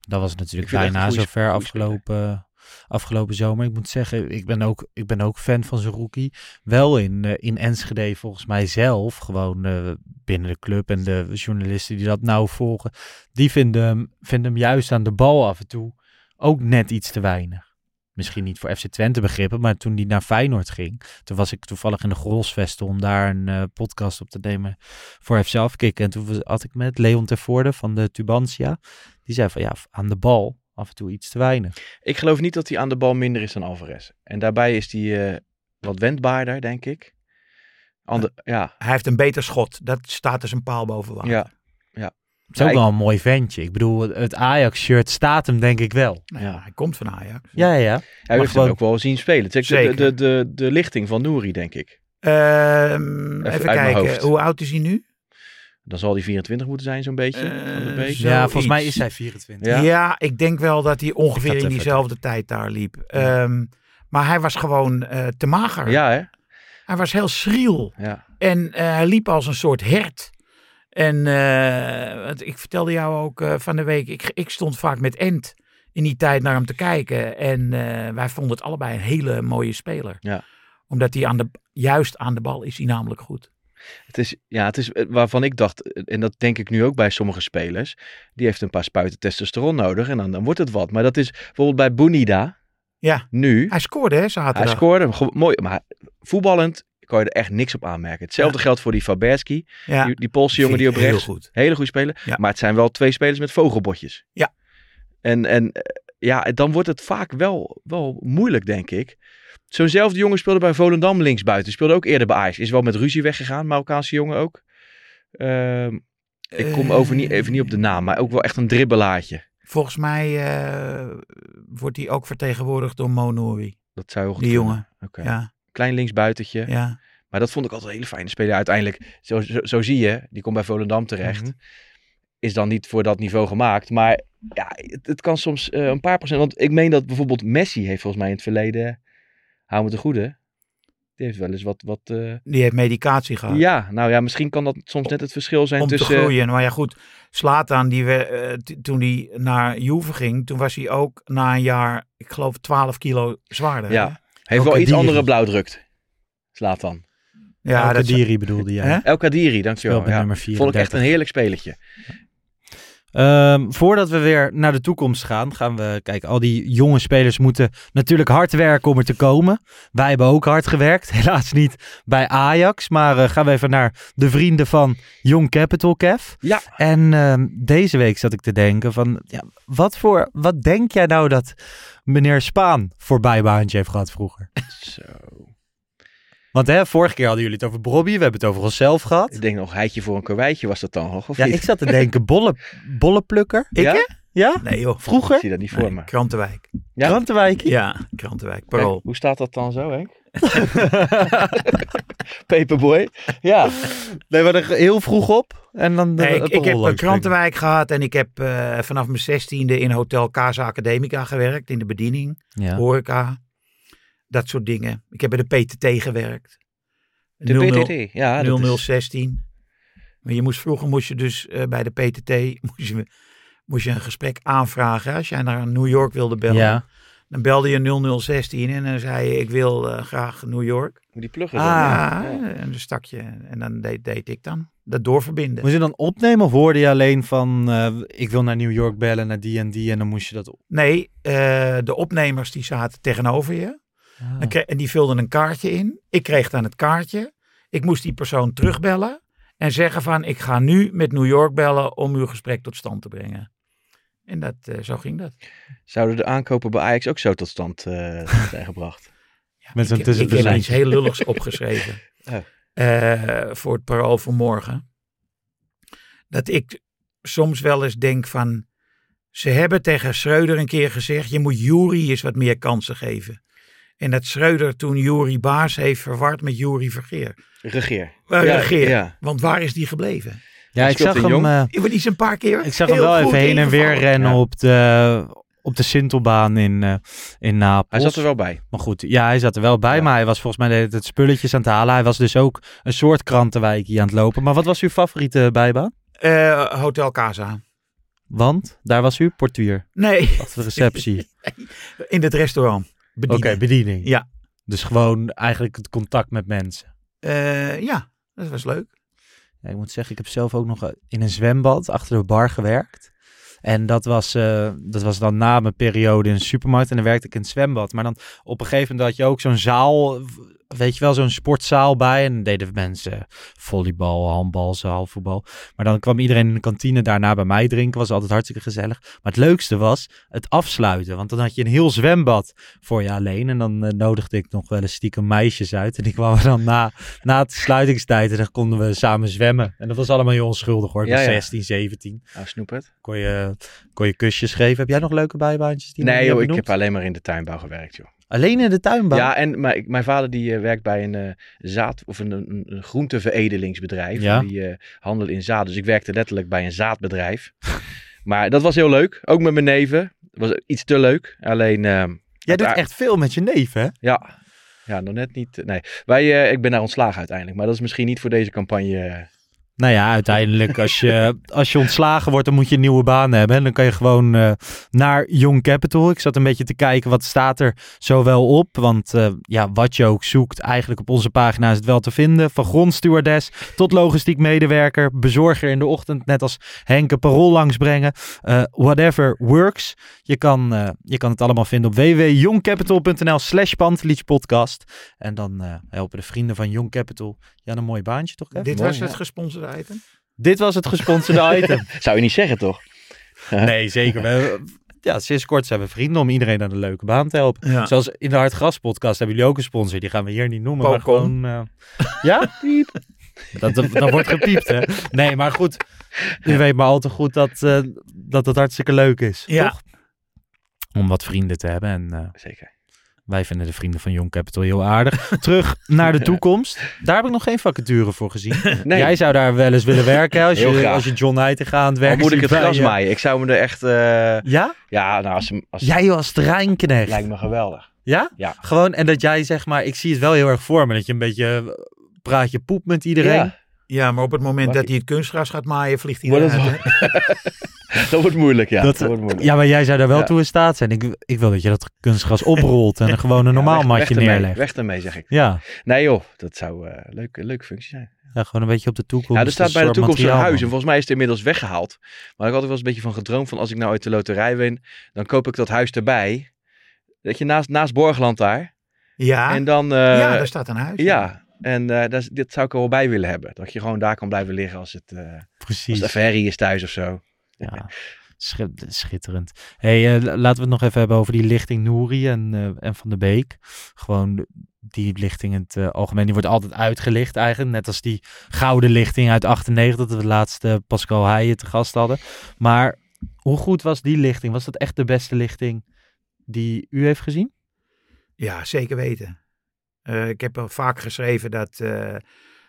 D: Dat was natuurlijk
F: Ik vind het echt
D: bijna
F: een goeie-
D: zover
F: goeie speler.
D: afgelopen, afgelopen zomer. Ik moet zeggen, ik ben ook, ik ben ook fan van zijn rookie. Wel in, eh, in Enschede volgens mij zelf, gewoon eh, binnen de club en de journalisten die dat nou volgen. Die vinden hem, vinden hem juist aan de bal af en toe ook net iets te weinig. Misschien niet voor FC Twente begrippen, maar toen die naar Feyenoord ging, toen was ik toevallig in de Grolsvesten om daar een eh, podcast op te nemen voor FC Afkikken. En toen was- had ik met Leon Tervoorde van de Tubantia. Die zei van ja, aan de bal af en toe iets te weinig.
F: Ik geloof niet dat hij aan de bal minder is dan Alvarez. En daarbij is hij eh, wat wendbaarder, denk ik. Ander, ja.
E: Hij heeft een beter schot. Dat staat dus een paal boven water.
F: Ja.
D: Het is ook
F: Ja, ik-
D: wel een mooi ventje. Ik bedoel, het- het Ajax-shirt staat hem denk ik wel.
E: Nou ja, Hij komt van Ajax.
D: Ja, ja.
F: Hij
D: Maar
F: heeft hem
D: gewoon-
F: ook wel zien spelen. Het is echt de,
E: Zeker.
F: de, de, de lichting van Nouri, denk ik.
E: Ehm, even
F: uit mijn hoofd.
E: kijken, hoe oud is hij nu?
F: Dan zal die 24 moeten zijn, zo'n beetje. van de
E: Eh,
F: Beek.
E: zo-
D: Ja, volgens mij is
E: Zoiets.
D: hij 24.
F: Ja.
E: Ja. ik denk wel dat hij ongeveer
D: Ik had
E: in
D: even-
E: diezelfde tijd daar liep. Ehm, maar hij was gewoon eh, te mager.
F: ja, hè?
E: Hij was heel schriel.
F: Ja.
E: En eh, hij liep als een soort hert. En eh, want ik vertelde jou ook eh, van de week, ik, ik stond vaak met Ent in die tijd naar hem te kijken. En eh, wij vonden het allebei een hele mooie speler.
F: Ja.
E: Omdat hij aan de, juist aan de bal is, hij namelijk goed.
F: Het is, ja, het is eh, waarvan ik dacht, eh, en dat denk ik nu ook bij sommige spelers, die heeft een paar spuiten testosteron nodig en dan, dan wordt het wat. Maar dat is bijvoorbeeld bij Bonida,
E: Ja,
F: nu,
E: hij scoorde hè, zaterdag.
F: hij scoorde hem gewoon mooi, maar voetballend kan je er echt niks op aanmerken. Hetzelfde geldt voor die Faberski,
E: ja.
F: die, die Poolse jongen
E: Vind
F: die
E: ik
F: op rechts,
E: Heel goed.
F: hele goede speler,
E: Ja.
F: maar het zijn wel twee spelers met vogelbotjes.
E: Ja.
F: En, en eh, ja, dan wordt het vaak wel, wel moeilijk, denk ik. Zo'nzelfde jongen speelde bij Volendam linksbuiten. Speelde ook eerder bij Ajax. Is wel met ruzie weggegaan, Marokkaanse jongen ook. Ehm, ik kom over niet, even niet op de naam, maar ook wel echt een dribbelaartje.
E: Volgens mij eh, wordt hij ook vertegenwoordigd door Mo Nouri,
F: Dat zou heel goed
E: die
F: kunnen.
E: jongen.
F: Oké.
E: Ja,
F: Klein linksbuitentje.
E: ja.
F: Maar dat vond ik altijd een hele fijne speler. Uiteindelijk, zo, zo, zo zie je, die komt bij Volendam terecht. Is dan niet voor dat niveau gemaakt. Maar ja, het, het kan soms eh, een paar procent. Want ik meen dat bijvoorbeeld Messi heeft volgens mij in het verleden, hou me te goede, die heeft wel eens wat... wat eh,
E: Die heeft medicatie gehad.
F: ja, nou ja, misschien kan dat soms net het verschil zijn
E: Ah. om
F: tussen...
E: te groeien. Maar ja, goed. Slatan, die we, eh, t- toen hij naar Juve ging, toen was hij ook na een jaar, ik geloof, 12 kilo zwaarder.
F: Ja,
E: hè?
F: eh, Heeft wel
D: Elke
F: iets
D: dier.
F: andere blauwdrukt. Slaat dan.
E: ja
D: Elke
E: dat is-
D: Diri bedoelde jij.
E: Hè?
F: El Kadiri, dankjewel.
D: Speelt met
F: Ja.
D: nummer
F: Vond ik echt
D: 34.
F: een heerlijk spelletje.
D: Ehm, voordat we weer naar de toekomst gaan, gaan we kijken. Al die jonge spelers moeten natuurlijk hard werken om er te komen. Wij hebben ook hard gewerkt. Helaas niet bij Ajax. Maar eh, gaan we even naar de vrienden van Young Capital Kev.
F: Ja.
D: En ehm, deze week zat ik te denken van, ja, wat, voor, wat denk jij nou dat meneer Spaan voor bijbaantje heeft gehad vroeger?
F: Zo.
D: Want hè, vorige keer hadden jullie het over Bobby, we hebben het over onszelf gehad.
F: Ik denk nog, heitje voor een karweitje was dat dan nog, of
D: Ja,
F: niet?
D: ik zat te denken, bolle, bollenplukker?
F: Ja?
D: Ja?
E: Nee joh,
F: Ik
D: Vroeger?
F: zie dat niet voor
E: Nee,
F: me.
E: Krantenwijk.
F: Ja.
D: Krantenwijk?
E: Ja, Krantenwijk,
F: Kijk,
E: parool.
F: hoe staat dat dan zo, Henk? Paperboy. Ja.
D: Nee, we hadden heel vroeg op en dan
E: Nee, ik, ik heb een
D: kranten.
E: Krantenwijk gehad en ik heb eh, vanaf mijn zestiende in Hotel Casa Academica gewerkt, in de bediening.
D: Ja.
E: horeca, dat soort dingen. Ik heb bij de PTT gewerkt.
F: De
E: 00
F: PTT. Ja, dat is-
E: 0016. Maar je moest, vroeger moest je dus eh, bij de PTT moest je, moest je een gesprek aanvragen. Als jij naar New York wilde bellen,
D: Ja.
E: dan belde je 0016 en dan zei je ik wil eh, graag New York.
F: Moet die pluggen
D: Ah.
F: dan, ja.
E: ja, en dan stak je. En dan deed, deed ik dan. Dat doorverbinden.
D: Moest je dan opnemen of hoorde je alleen van eh, ik wil naar New York bellen, naar die en die en dan moest je dat op.
E: Nee, eh, de opnemers die zaten tegenover je. Dan kre- En die vulden een kaartje in. Ik kreeg dan het kaartje. Ik moest die persoon terugbellen. En zeggen van, ik ga nu met New York bellen om uw gesprek tot stand te brengen. En dat, eh, zo ging dat.
F: Zouden de aankopen bij Ajax ook zo tot stand eh, zijn gebracht?
E: Ja,
D: Met zo'n
E: ik, heb- ik heb
D: tussenverzijn.
E: iets heel lulligs opgeschreven.
F: Ja.
E: Eh, voor het parool van morgen. Dat ik soms wel eens denk van... Ze hebben tegen Schreuder een keer gezegd... je moet Jury eens wat meer kansen geven. En dat Schreuder toen Jury Baas heeft verward met Jury Vergeer.
F: Regeer.
E: Eh,
F: Ja,
E: regeer.
F: ja.
E: Want waar is die gebleven?
D: Ja, ik
F: speelt
D: zag
F: in
D: hem,
F: Jong.
D: eh,
E: Ik ben iets een paar keer.
D: ik zag hem
E: heel
D: wel
E: goed
D: even heen en weer
E: ingevallen.
D: rennen
F: Ja.
D: op de, op de Sintelbaan in, eh in Napels.
F: Hij zat er wel bij.
D: Maar goed, ja, hij zat er wel bij,
F: Ja.
D: maar hij was volgens mij de hele tijd spulletjes aan het halen. Hij was dus ook een soort krantenwijkje aan het lopen. Maar wat was uw favoriete bijbaan?
E: Eh, Hotel Casa.
D: Want daar was u portuur,
E: Nee,
D: achter de receptie.
E: in het restaurant.
D: Oké,
E: Bedienen.
D: bediening.
E: Ja.
D: Dus gewoon eigenlijk het contact met mensen.
E: Eh, ja, dat was leuk.
D: Ja, ik moet zeggen, ik heb zelf ook nog eh, in een zwembad achter de bar gewerkt. En dat was, eh, dat was dan na mijn periode in de supermarkt. En dan werkte ik in het zwembad. Maar dan op een gegeven moment had je ook zo'n zaal, eh, weet je wel, zo'n sportzaal bij. En dan deden mensen volleybal, handbal, zaalvoetbal. Maar dan kwam iedereen in de kantine daarna bij mij drinken. Was altijd hartstikke gezellig. Maar het leukste was het afsluiten. Want dan had je een heel zwembad voor je alleen. En dan eh, nodigde ik nog wel eens stiekem meisjes uit. En die kwamen dan na, na het sluitingstijd. En dan konden we samen zwemmen. En dat was allemaal heel onschuldig hoor. Ik
F: Ja,
D: was
F: ja.
D: 16, 17.
F: Ah, snoepert.
D: Kon je, kon je kusjes geven. Heb jij nog leuke bijbaantjes? Die we
F: Nee
D: niet
F: joh,
D: hebben
F: ik
D: benoemd?
F: heb alleen maar in de tuinbouw gewerkt joh.
D: Alleen in de tuinbouw?
F: Ja, en mijn, mijn vader die eh, werkt bij een eh, zaad- of een, een, een groenteveredelingsbedrijf.
H: Ja.
F: Die eh handelen in zaad. Dus ik werkte letterlijk bij een zaadbedrijf. maar dat was heel leuk. Ook met mijn neven. Was iets te leuk. Alleen, eh,
D: Jij doet
F: daar-
D: echt veel met je neef, hè?
F: ja. Ja, nog net niet. Nee, wij, eh, ik ben daar ontslagen uiteindelijk. Maar dat is misschien niet voor deze campagne. eh,
H: Nou ja, uiteindelijk als je, als je ontslagen wordt, dan moet je een nieuwe baan hebben. En dan kan je gewoon eh, naar Young Capital. Ik zat een beetje te kijken wat staat er zowel op. Want eh, ja, wat je ook zoekt, eigenlijk op onze pagina is het wel te vinden. Van grondstewardess tot logistiek medewerker, bezorger in de ochtend, net als Henke Parool langsbrengen. Eh, whatever works. Je kan, eh, je kan het allemaal vinden op www.youngcapital.nl slash podcast. En dan eh, helpen de vrienden van Young Capital. Ja, een mooi baantje toch? Kev?
E: Dit
F: mooi,
E: was het
F: ja.
E: gesponsorde item.
D: Dit was het gesponsorde item.
F: Zou je niet zeggen, toch?
D: Nee, zeker. We- ja, sinds kort zijn we vrienden om iedereen aan een leuke baan te helpen.
E: Ja.
D: Zoals in de Hard Gras podcast hebben jullie ook een sponsor. Die gaan we hier niet noemen, maar
E: Qualcomm.
D: gewoon... eh, ja? Piep. Dat, dat, dat wordt gepiept, hè? Nee, maar goed. U weet maar al te goed dat, eh, dat het hartstikke leuk is.
E: Ja.
D: Toch? Om wat vrienden te hebben. En eh,
F: Zeker.
D: wij vinden de vrienden van Young Capital heel aardig. Terug naar de toekomst. Daar heb ik nog geen vacature voor gezien.
F: Nee,
D: Jij zou daar wel eens willen werken hè, als,
F: Heel
D: je,
F: graag.
D: als je John Heitinga aan het
F: al
D: werk
F: moet
D: ziet
F: ik het
D: bij
F: gras
D: je.
F: maaien. Ik zou me er echt... eh,
D: Ja?
F: ja, nou, als, als,
D: Jij was terreinknecht.
F: lijkt me geweldig.
D: Ja?
F: Ja.
D: Gewoon, en dat jij zeg maar, ik zie het wel heel erg voor me, dat je een beetje eh, praat je poep met iedereen.
F: Ja,
E: Ja, maar op het moment
F: Maar-
E: dat hij het kunstgras gaat maaien, vliegt hij
F: Wordt
E: eruit.
F: het
E: hè?
F: dat wordt moeilijk, ja.
D: Dat-
F: Dat, wordt moeilijk.
D: Ja, maar jij zou daar wel
F: Ja.
D: toe in staat zijn. Ik, ik wil dat je dat kunstgras oprolt en er gewoon een normaal
F: Ja, weg-
D: matje
F: weg ermee,
D: neerlegt.
F: Weg ermee, zeg ik.
D: Ja.
F: Nee joh, dat zou eh leuk, een leuke functie zijn.
D: ja, gewoon een beetje op de toekomst.
F: Ja, er staat
D: een
F: bij de
D: soort
F: toekomst een
D: materiaal,
F: huis. En
D: man.
F: volgens mij is het inmiddels weggehaald. Maar ik had er wel eens een beetje van gedroomd van als ik nou uit de loterij win, dan koop ik dat huis erbij. Dat je naast, naast Borgland daar.
E: Ja.
F: En dan... eh,
E: ja, daar staat een huis.
F: ja. En eh, daar is- dit zou ik er wel bij willen hebben. Dat je gewoon daar kan blijven liggen als het, eh als
D: Precies.
F: de ferry is thuis of zo.
D: Ja. Schi- Schitterend. Hey, eh, la- laten we het nog even hebben over die lichting Nouri en, eh, en Van de Beek. Gewoon die lichting in het eh, algemeen. Die wordt altijd uitgelicht eigenlijk. Net als die gouden lichting uit 98 dat we de laatste Pascal Heijen te gast hadden. Maar hoe goed was die lichting? Was dat echt de beste lichting die u heeft gezien?
E: Ja, zeker weten. Eh, ik heb al vaak geschreven dat eh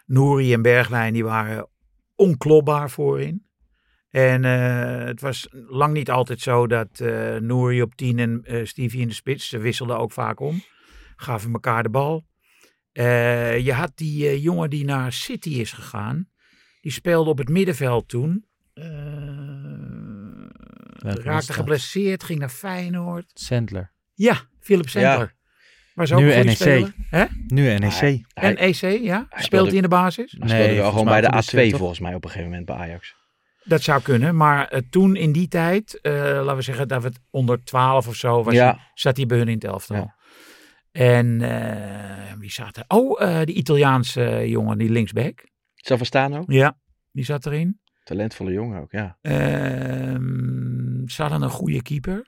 E: Nouri en Berglijn die waren onklopbaar voorin. En eh, het was lang niet altijd zo dat eh Nouri op 10 en eh, Stevie in de spits. Ze wisselden ook vaak om. Gaven elkaar de bal. Eh, je had die eh, jongen die naar City is gegaan. Die speelde op het middenveld toen. Eh,
D: was
E: raakte
D: dat?
E: geblesseerd, ging naar Feyenoord.
D: Sendler.
E: Ja, Philip Sandler. Was ook
D: Nu E
E: een goede
D: NEC.
E: speler. Hè?
D: Nu NEC.
F: Hij-
E: En EC, ja? Speelt
F: speelde-
E: hij in de basis?
F: Hij speelde wel
D: volgens
F: gewoon
D: mij
F: bij de
D: toen
F: A2
D: is hij, toch?
F: volgens mij op een gegeven moment bij Ajax.
E: Dat zou kunnen. Maar eh, toen in die tijd, eh, laten we zeggen dat we het onder 12 of zo was,
F: Ja.
E: hij- zat hij bij hun in het elftal.
F: Ja.
E: En eh, wie zat er? Oh, eh, die Italiaanse eh, jongen, die linksback.
F: Savastano,
E: Ja. Die zat erin.
F: talentvolle jongen ook, ja.
E: Ehm ze hadden een goede keeper.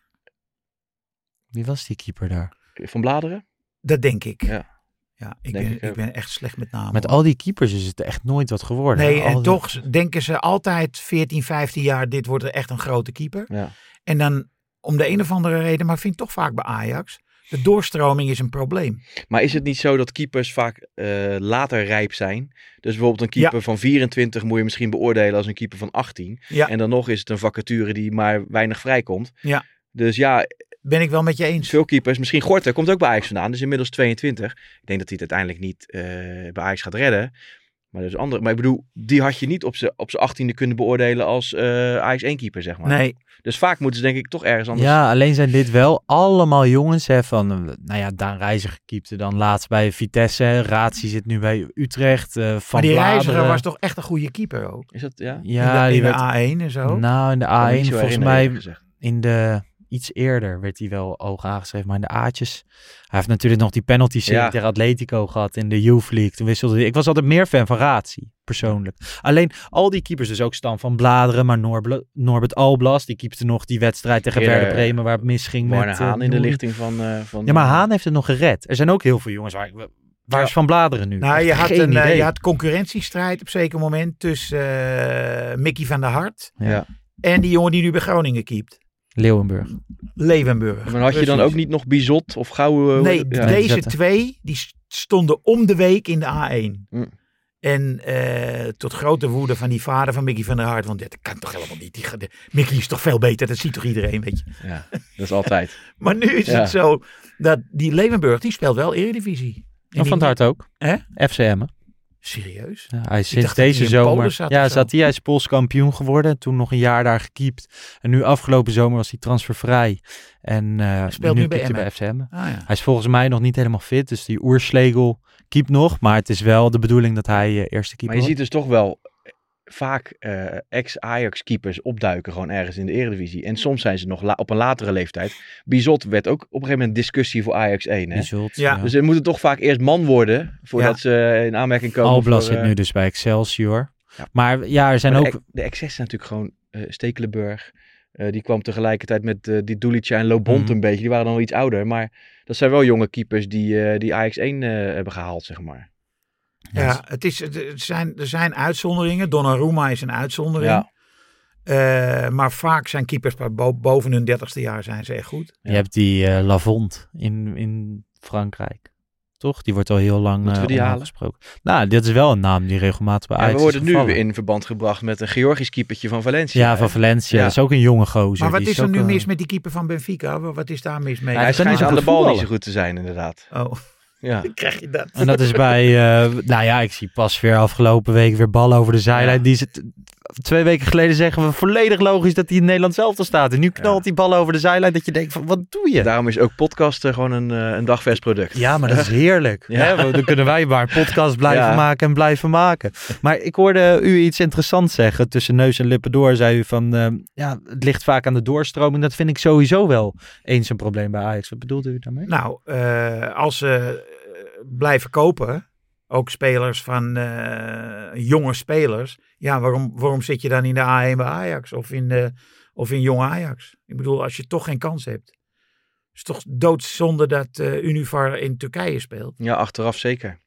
D: Wie was die keeper daar?
F: Van Bladeren?
E: Dat denk ik.
F: Ja.
E: Ja, ik,
F: Denk
E: ben,
F: ik
E: ik,
F: ook.
E: ben echt slecht met namen.
D: Met
E: hoor.
D: al die keepers is het echt nooit wat geworden.
E: Nee,
D: Al
E: en
D: die-
E: toch denken ze altijd 14, 15 jaar, dit wordt echt een grote keeper.
F: Ja.
E: En dan om de een of andere reden, maar vind ik toch vaak bij Ajax. De doorstroming is een probleem.
F: Maar is het niet zo dat keepers vaak eh, later rijp zijn? Dus bijvoorbeeld een keeper van 24 moet je misschien beoordelen als een keeper van 18.
E: Ja.
F: En dan nog is het een vacature die maar weinig vrijkomt.
E: Ja.
F: Dus ja,
E: Ben ik wel met je eens.
F: veel keepers. Misschien Gorter komt ook bij Ajax vandaan. Dus inmiddels 22. Ik denk dat hij het uiteindelijk niet eh, bij Ajax gaat redden. Maar, dus andere, maar ik bedoel, die had je niet op zijn op 18e kunnen beoordelen als eh Ajax 1 keeper, zeg maar.
E: Nee,
F: Dus vaak moeten ze denk ik toch ergens anders.
D: Ja, alleen zijn dit wel allemaal jongens hè, van, eh, nou ja, Daan Reiziger keepte dan laatst bij Vitesse, hè, Ratie zit nu bij Utrecht, eh, Van
E: maar die
D: Bladeren.
E: reiziger was toch echt een goede keeper ook.
F: Is dat, ja?
D: Ja,
E: in
D: die
E: de,
D: werd,
E: in de A1 en zo.
D: nou in de
F: Kan me niet
D: A1
F: zo
D: volgens
F: herinneren,
D: mij
F: eerlijk gezegd.
D: in de, iets eerder werd hij wel oog aangeschreven, maar in de A'tjes. Hij heeft natuurlijk nog die penalty serie
F: Ja.
D: tegen Atletico gehad in de Youth League. Toen wisselde hij, ik was altijd meer fan van Ratie, persoonlijk. Alleen al die keepers, dus ook Stan van Bladeren, maar Norbla- Norbert Alblas, die keepte nog die wedstrijd tegen
F: Eerder,
D: Werder Bremen waar het misging
F: Warner
D: met... eh,
F: Haan in de
D: Nouri.
F: lichting van... eh, van
D: Ja, maar Haan heeft het nog gered. Er zijn ook heel veel jongens waar, ik- waar
E: Ja.
D: is Van Bladeren nu?
E: Nou, je
D: Echt
E: had,
D: geen
E: een, eh,
D: idee.
E: je had concurrentiestrijd op een zeker moment tussen eh, Mickey van der Hart
F: Ja.
E: en die jongen die nu bij Groningen keept.
D: Leeuwenburg.
E: Leeuwenburg.
F: Maar had je dan ook
E: Precies.
F: niet nog Bizot of Gouwe?
E: Nee,
F: ja.
D: nee.
E: deze
D: zetten.
E: twee die st- stonden om de week in de A1.
F: Mm.
E: En eh, tot grote woede van die vader van Mickey van der Hart. Want dit kan toch helemaal niet. Die, ge- de- Mickey is toch veel beter. Dat ziet toch iedereen, weet je.
F: Ja, dat is altijd.
E: Maar nu is
F: Ja.
E: het zo dat die Leeuwenburg, die speelt wel Eredivisie. En
D: En
E: die-
D: van het hart ook.
E: Hè?
D: FCM.
E: Serieus?
D: Ja, hij is
E: dacht
D: sinds
E: dat hij
D: deze
E: in
D: zomer.
E: Polen zat
D: ja,
E: of zo.
D: zat hij. Hij is Pools kampioen geworden. Toen nog een jaar daar gekiept. En nu afgelopen zomer was hij transfervrij. En eh
E: speelt
D: nu
E: nu bij
D: keept hij bij
E: Emmen.
D: FCM.
E: Ah ja.
D: Hij is volgens mij nog niet helemaal fit. Dus die oerslegel keept nog. Maar het is wel de bedoeling dat hij eh, eerste keeper
F: Maar je ziet dus toch wel vaak eh, ex-Ajax-keepers opduiken gewoon ergens in de Eredivisie. En soms zijn ze nog la- op een latere leeftijd. Bizot werd ook op een gegeven moment discussie voor Ajax 1. Hè?
D: wordt. Result,
E: Ja,
F: Dus ze moeten toch vaak eerst man worden voordat
E: Ja.
F: ze in aanmerking komen.
D: Alblas
F: voor,
D: zit
F: eh,
D: nu dus bij Excelsior.
F: Ja.
D: Maar ja, er zijn
F: maar
D: ook...
F: de, ex- de excess zijn natuurlijk gewoon eh, Stekelenburg. Eh, die kwam tegelijkertijd met eh, die Dulica en Lobont
D: Mhm.
F: een beetje. Die waren dan wel iets ouder. Maar dat zijn wel jonge keepers die, eh, die Ajax 1 eh, hebben gehaald, zeg maar.
E: ja het is, het- het zijn, er zijn uitzonderingen. Donnarumma is een uitzondering.
F: Ja.
E: Eh, maar vaak zijn keepers bij bo- boven hun dertigste jaar zijn ze echt goed.
D: Je hebt die eh, Lavond in, in Frankrijk. Toch? Die wordt al heel lang
F: Moeten we
D: eh,
F: die halen?
D: gesproken. Nou, dit is wel een naam die regelmatig bij
F: Ja,
D: Ajax
F: we
D: is
F: worden nu
D: gevallen.
F: in verband gebracht met een Georgisch keepertje van Valencia.
D: Ja, van
F: hè?
D: Valencia.
F: Ja.
D: Dat is ook een jonge gozer.
E: Maar wat
D: Die
E: Dus is er
D: ook
E: nu
D: een-
E: mis met die keeper van Benfica? Wa- Wat is daar mis mee?
D: is
F: Hij
D: kan
F: schijnt
D: niet
F: aan
D: zo
F: de
D: goed
F: bal niet
D: voetballen.
F: zo goed te zijn, inderdaad.
E: Oh,
F: Ja.
E: krijg je dat?
D: En dat is bij... eh, nou ja, ik zie pas weer afgelopen week weer ballen over de zijlijn.
F: Ja.
D: Die ze t- twee weken geleden zeggen we volledig logisch dat hij in Nederland zelf te staat. En nu knalt die ballen over de zijlijn dat je denkt van, wat doe je?
F: Daarom is ook podcasten gewoon een, eh, een dagvers product.
D: Ja, maar dat is heerlijk.
F: Ja.
D: Hè? want Dan kunnen wij maar een podcast blijven
F: Ja.
D: maken en blijven maken. Maar ik hoorde u iets interessants zeggen. Tussen neus en lippen door zei u van... ehm, ja, het ligt vaak aan de doorstroming. Dat vind ik sowieso wel eens een probleem bij Ajax. Wat bedoelde u daarmee?
E: Nou, eh, als ze eh, blijven kopen, ook spelers van eh, jonge spelers, ja, waarom, waarom zit je dan in de A1 bij Ajax of in, de, of in jong Ajax? Ik bedoel, als je toch geen kans hebt. is toch doodzonde dat eh Univar in Turkije speelt.
F: Ja, achteraf zeker.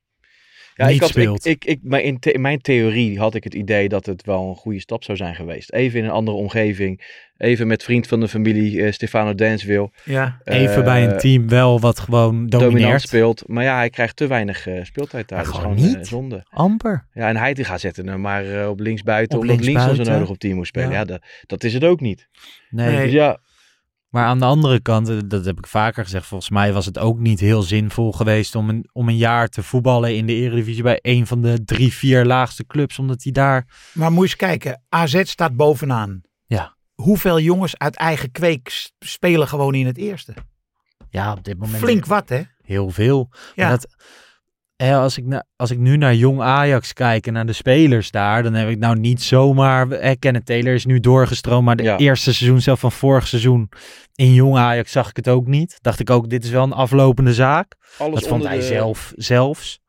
D: Niet
F: ik had,
D: speelt.
F: Ik, ik, ik, maar in, the- in mijn theorie had ik het idee dat het wel een goede stap zou zijn geweest. Even in een andere omgeving. Even met vriend van de familie, eh, Stefano Denswil. eh,
E: Ja,
D: Even bij een team wel wat gewoon
F: Dominant
D: domineert.
F: speelt. Maar ja, hij krijgt te weinig eh, speeltijd daar.
D: Maar
F: Dat is
D: gewoon
F: gewoon eh,
D: niet.
F: zonde.
D: Amper.
F: Ja, en hij gaat zetten hem maar eh, op linksbuiten.
D: Op
F: omdat links was
D: linksbuiten.
F: er nodig op team moest spelen.
D: Ja.
F: Ja, dat, dat is het ook niet.
D: Nee.
E: Nee.
F: Dus ja,
D: Maar aan de andere kant, eh, dat heb ik vaker gezegd. Volgens mij was het ook niet heel zinvol geweest om een, om een jaar te voetballen in de Eredivisie. Bij een van de drie, vier laagste clubs. Omdat hij daar...
E: maar moet je eens kijken. AZ staat bovenaan.
D: Ja.
E: Hoeveel jongens uit eigen kweek s- spelen gewoon in het eerste?
D: Ja, op dit moment...
E: Flink wat, hè?
D: Heel veel.
E: Ja.
D: Maar dat, hè, als, ik na, als ik nu naar jong Ajax kijk en naar de spelers daar, dan heb ik nou niet zomaar. Hè, Kenneth Taylor is nu doorgestroomd, maar de
F: Ja.
D: eerste seizoen zelf van vorig seizoen in jong Ajax zag ik het ook niet. Dacht ik ook, dit is wel een aflopende zaak.
F: alles
D: dat vond
F: onder
D: hij
F: de-
D: zelf zelfs.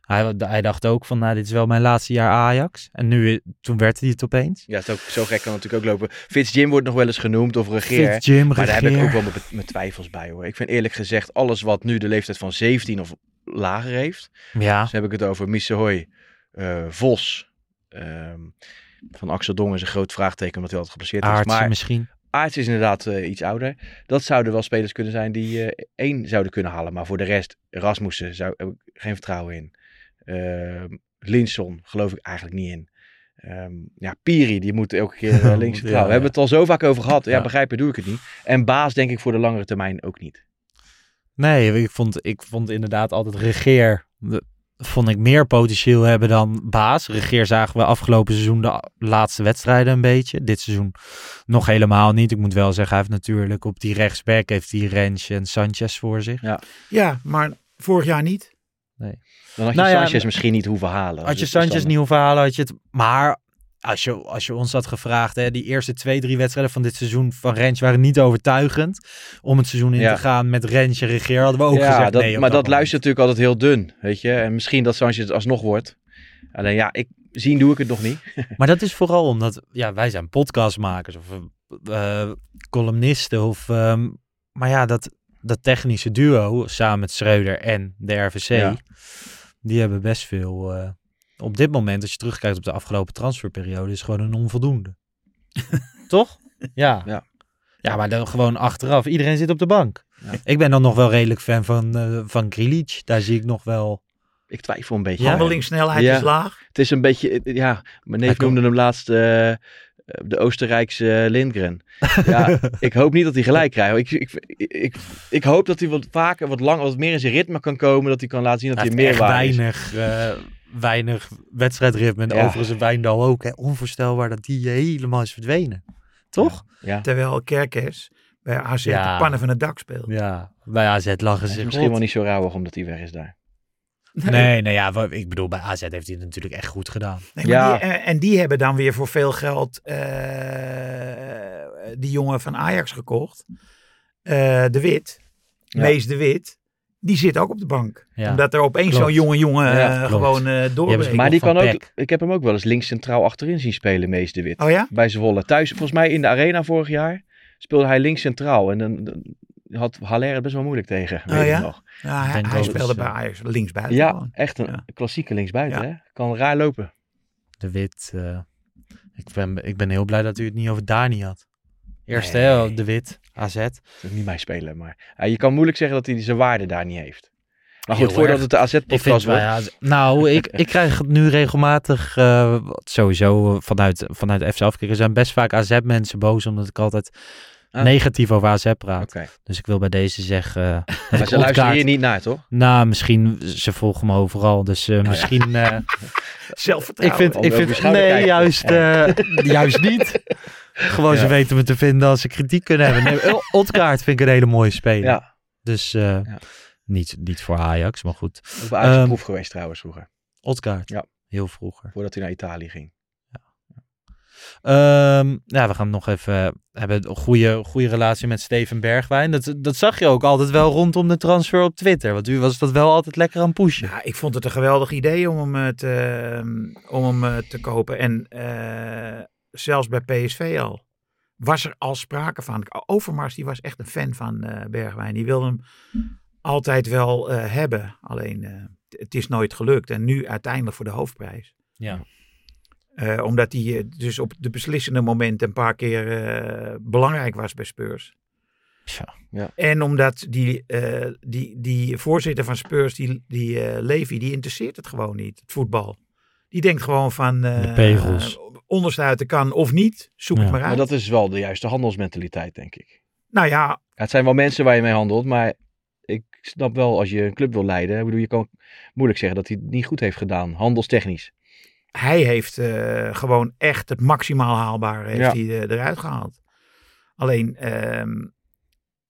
D: Hij, hij dacht ook van, nou, dit is wel mijn laatste jaar Ajax. En nu, eh, toen werd hij het opeens.
F: Ja, het is ook, zo gek kan het natuurlijk ook lopen. Fitz Jim wordt nog wel eens genoemd of regeer.
D: Fit Jim,
F: Maar daar heb ik
D: Regeer.
F: ook wel mijn, mijn twijfels bij hoor. Ik vind eerlijk gezegd, alles wat nu de leeftijd van 17 of lager heeft.
D: Ja,
F: Dus heb ik het over Missehoy, eh Vos. ehm, van Axel Dong is een groot vraagteken omdat hij altijd geblesseerd is.
D: aardse
F: Maar
D: misschien.
F: Aarts is inderdaad eh, iets ouder. Dat zouden wel spelers kunnen zijn die eh, één zouden kunnen halen. Maar voor de rest, Rasmussen zou, heb ik geen vertrouwen in. Ehm Linson geloof ik eigenlijk niet in. Ehm, ja, Piri, die moet elke keer eh, links
D: Ja,
F: centraal. We hebben het al zo vaak over gehad. Ja,
D: Ja.
F: begrijpen doe ik het niet. En Baas denk ik voor de langere termijn ook niet.
D: Nee, ik vond, ik vond inderdaad altijd regeer. de- Vond ik meer potentieel hebben dan baas. Regeer zagen we afgelopen seizoen de a- laatste wedstrijden een beetje. Dit seizoen nog helemaal niet. Ik moet wel zeggen, hij heeft natuurlijk op die rechtsback heeft hij Rens en Sanchez voor zich.
E: Ja, maar vorig jaar niet.
F: Dan had je
D: Nou ja,
F: Sanchez misschien niet hoeven halen.
D: Had je
F: Dus dat is
D: Sanchez
F: dan-
D: niet hoeven halen, had je het. Maar als je, als je ons had gevraagd, hè, die eerste twee, drie wedstrijden van dit seizoen van Rens waren niet overtuigend. Om het seizoen in
F: Ja.
D: te gaan met Rens en regeer hadden we ook
F: ja,
D: gezegd.
F: dat,
D: nee, op
F: maar dat,
D: moment.
F: luistert natuurlijk altijd heel dun, weet je. En misschien dat Sanchez het alsnog wordt. Alleen ja, ik, zien doe ik het nog niet.
D: Maar dat is vooral omdat ja, wij zijn podcastmakers of eh, eh, columnisten. Of, ehm, maar ja, dat, dat technische duo samen met Schreuder en de RVC,
F: Ja.
D: die hebben best veel. eh, op dit moment, als je terugkijkt op de afgelopen transferperiode, is gewoon een onvoldoende. Toch? Ja.
F: Ja.
D: Ja, maar dan gewoon achteraf. Iedereen zit op de bank. Ik ben dan nog wel redelijk fan van, eh van Grealish. Daar zie ik nog wel...
F: Ik twijfel een beetje.
D: Ja.
E: Handelingssnelheid
F: Ja.
E: is laag.
F: Het is een beetje, eh, ja, mijn
D: Hij
F: neef
D: kan-
F: noemde hem laatst eh, de Oostenrijkse eh, Lindgren. Ja, ik hoop niet dat hij gelijk krijgt. Ik, ik, ik, ik hoop dat hij wat vaker, wat langer, wat meer in zijn ritme kan komen. Dat hij kan laten zien dat hij,
D: Hij heeft
F: meer
D: echt
F: waard is.
D: weinig, eh, weinig wedstrijdritme. En
F: Ja.
D: overigens een Wijndal ook. Hè. Onvoorstelbaar dat die helemaal is verdwenen. Toch?
F: Ja.
E: Terwijl Kerkers bij AZ
D: Ja.
E: de pannen van het dak speelt.
D: Ja, bij AZ lachen ze
F: Het is
D: zich
F: misschien
D: rot.
F: wel niet zo rauwig omdat hij weg is daar.
D: Nee, nou ja, wa- ik bedoel, bij AZ heeft hij het natuurlijk echt goed gedaan.
E: Nee, maar
F: Ja.
E: die, eh, en die hebben dan weer voor veel geld eh, die jongen van Ajax gekocht. Eh, de Wit,
F: Ja.
E: Mees de Wit. Die zit ook op de bank.
D: Ja.
E: Omdat er opeens
D: Klopt.
E: zo'n jonge jongen eh,
F: Ja,
D: klopt.
E: gewoon eh doorbreekt.
D: Ik
F: Maar
D: wil
F: die
D: van
F: kan ook,
D: Peck.
F: ik heb hem ook wel eens links centraal achterin zien spelen, Mees de Wit.
E: Oh ja?
F: bij Zwolle. Thuis, volgens mij in de arena vorig jaar, speelde hij links centraal. En dan, dan had Haller het best wel moeilijk tegen, weet
E: Oh
F: ik
E: ja?
F: nog.
E: Ja, hij,
D: denk
E: hij
D: ook
E: speelde
D: dat,
E: bij
D: eh,
E: Ajax linksbuiten.
F: Ja,
E: gewoon.
F: echt een
E: Ja.
F: klassieke linksbuiten,
E: Ja.
F: hè? Kan raar lopen.
D: De Wit. eh, ik, ben, ik ben heel blij dat u het niet over Dani had. Eerst
F: Nee.
D: hè, De Wit, AZ.
F: Dat is niet mijn speler, maar eh, je kan moeilijk zeggen dat hij zijn waarde daar niet heeft. Maar goed,
D: Heel
F: voordat
D: erg.
F: het de
D: Ik vind
F: AZ-podcast wordt.
D: bij AZ nou, ik, ik krijg het nu regelmatig, eh, wat sowieso vanuit, vanuit FC Afkikken, zijn best vaak AZ-mensen boos, omdat ik altijd
F: Ah.
D: negatief over AZ praat.
F: Oké,
D: Dus ik wil bij deze zeggen... eh, dat ik
F: maar ze luisteren
D: ontkaart-
F: hier niet naar, toch?
D: Nou, misschien, ze volgen me overal, dus eh, misschien... eh, ik
E: Zelfvertrouwen.
D: vind,
F: Oh Om
D: ik
F: over je
D: vind
F: schouder
D: nee,
F: kijken.
D: juist, eh, juist niet. Gewoon ze
F: Ja.
D: weten me te vinden als ze kritiek kunnen hebben. Nee, Otkaart vind ik een hele mooie speler.
F: Ja,
D: Dus eh,
F: Ja.
D: niet, niet voor Ajax, maar goed.
F: op Ajax
D: Ehm,
F: proef geweest trouwens vroeger,
D: Otkaart.
F: Ja.
D: Heel vroeger.
F: voordat hij naar Italië ging.
D: Ehm, ja, we gaan nog even... eh, hebben een goede, goede relatie met Steven Bergwijn. Dat, dat zag je ook altijd wel rondom de transfer op Twitter. Want u was dat wel altijd lekker aan het pushen.
E: Ja, ik vond het een geweldig idee om hem, eh, te, eh, om hem eh, te kopen. En eh, zelfs bij PSV al was er al sprake van. Overmars die was echt een fan van eh, Bergwijn. Die wilde hem altijd wel eh, hebben. Alleen eh, t- het is nooit gelukt. En nu uiteindelijk voor de hoofdprijs.
D: Ja.
E: Eh, omdat hij eh, dus op de beslissende momenten een paar keer eh, belangrijk was bij Spurs.
D: Tja,
F: ja.
E: En omdat die, eh, die, die voorzitter van Spurs, die, die eh, Levy, die interesseert het gewoon niet, het voetbal. Die denkt gewoon van eh,
D: De pegels.
E: eh, ondersluiten kan of niet, zoek
D: Ja.
E: het maar
F: Maar
E: uit.
F: dat is wel de juiste handelsmentaliteit, denk ik.
E: Nou ja,
F: Ja, het zijn wel mensen waar je mee handelt, maar ik snap wel als je een club wil leiden. Ik bedoel, je kan moeilijk zeggen dat hij het niet goed heeft gedaan, handelstechnisch.
E: hij heeft eh, gewoon echt het maximaal haalbare heeft
F: Ja.
E: hij, eh, eruit gehaald. Alleen, ehm,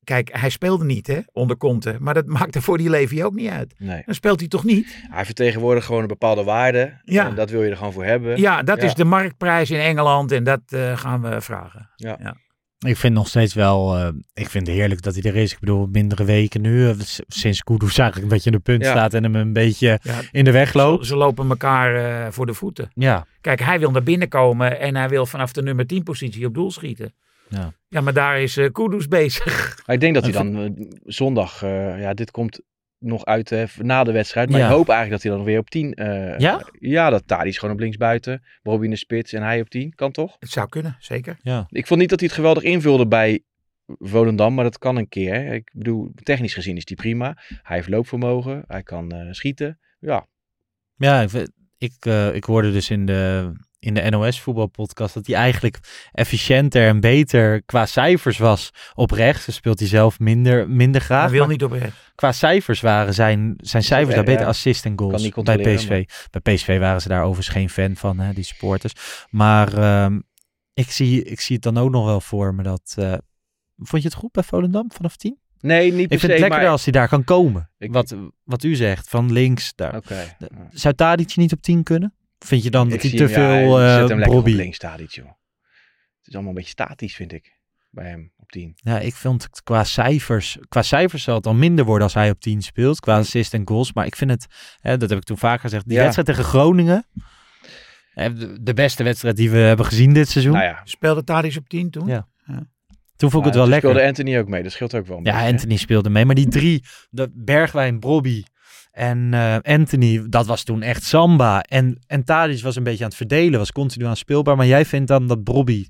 E: kijk, hij speelde niet hè, onder Conte, maar dat maakte voor die Levy ook niet uit.
F: Nee.
E: Dan speelt hij toch niet?
F: Hij vertegenwoordigt gewoon een bepaalde waarde.
E: Ja.
F: En dat wil je er gewoon voor hebben.
E: Ja, dat
F: Ja.
E: is de marktprijs in Engeland en dat eh, gaan we vragen.
I: Ik vind nog steeds wel, eh, ik vind het heerlijk dat hij er is. Ik bedoel, mindere weken nu, eh, s- sinds Kudus eigenlijk een beetje in de punt
F: Ja.
I: staat en hem een beetje
E: Ja.
I: in de weg loopt.
E: Ze, ze lopen elkaar eh, voor de voeten.
D: Ja.
E: Kijk, hij wil naar binnen komen en hij wil vanaf de nummer 10 positie op doel schieten.
D: Ja.
E: ja maar daar is eh Kudus bezig.
F: Maar ik denk dat hij dan eh, zondag, eh, ja, dit komt nog uit eh, na de wedstrijd. Maar
D: Ja.
F: ik hoop eigenlijk dat hij dan weer op 10. eh,
D: Ja?
F: Ja, dat Tadis gewoon op links buiten, Bobby in de spits en hij op 10. Kan toch?
E: Het zou kunnen, zeker.
F: Ik vond niet dat hij het geweldig invulde bij Volendam, maar dat kan een keer. Ik bedoel, technisch gezien is hij prima. Hij heeft loopvermogen, hij kan eh, schieten. Ja,
D: Ja, ik, vind- ik, eh, ik hoorde dus in de, in de NOS voetbalpodcast dat hij eigenlijk efficiënter en beter qua cijfers was op rechts.
I: Dus
D: Dan speelt hij zelf minder, minder graag.
E: hij wil
D: maar
E: niet op rechts.
D: Qua cijfers waren zijn, zijn cijfers daar
F: Ja,
D: beter.
F: ja.
D: Assist en
F: Kan
D: goals
F: niet
D: bij
F: controleren,
D: PSV. Bij PSV waren ze daar overigens geen fan van, hè, die supporters. Maar ehm, ik, zie, ik zie het dan ook nog wel voor me dat... eh, vond je het goed bij Volendam vanaf 10?
F: nee, niet
D: Ik
F: per
D: vind het
F: se,
D: lekkerder
F: maar...
D: als hij daar kan komen.
F: Ik-
D: Wat, wat u zegt, van links daar.
F: Oké.
D: De- Zou Tadic niet op 10 kunnen? Vind je dan dat
F: Ik
D: hij
F: zie
D: te
F: hem, ja,
D: veel
F: hij
D: eh
F: zet hem lekker
D: Robbie-
F: op links Tadic, joh. Het is allemaal een beetje statisch, vind ik, bij hem op 10.
D: Ja, ik vond het qua cijfers, qua cijfers zal het dan minder worden als hij op 10 speelt, qua assist en goals. Maar ik vind het, hè, dat heb ik toen vaak gezegd, die
F: Ja.
D: wedstrijd tegen Groningen, hè, de- de beste wedstrijd die we hebben gezien dit seizoen.
F: Nou ja,
E: Speelde Tadis op 10 toen?
D: Ja. toen vond ik
F: nou,
D: het wel lekker.
F: toen speelde Anthony ook mee, dat scheelt ook wel een
D: Ja,
F: beetje, hè?
D: Anthony speelde mee, maar die drie, de Bergwijn, Bobby en eh, Anthony, dat was toen echt samba. En, en Tadic was een beetje aan het verdelen, was continu aan speelbaar. Maar jij vindt dan dat Bobby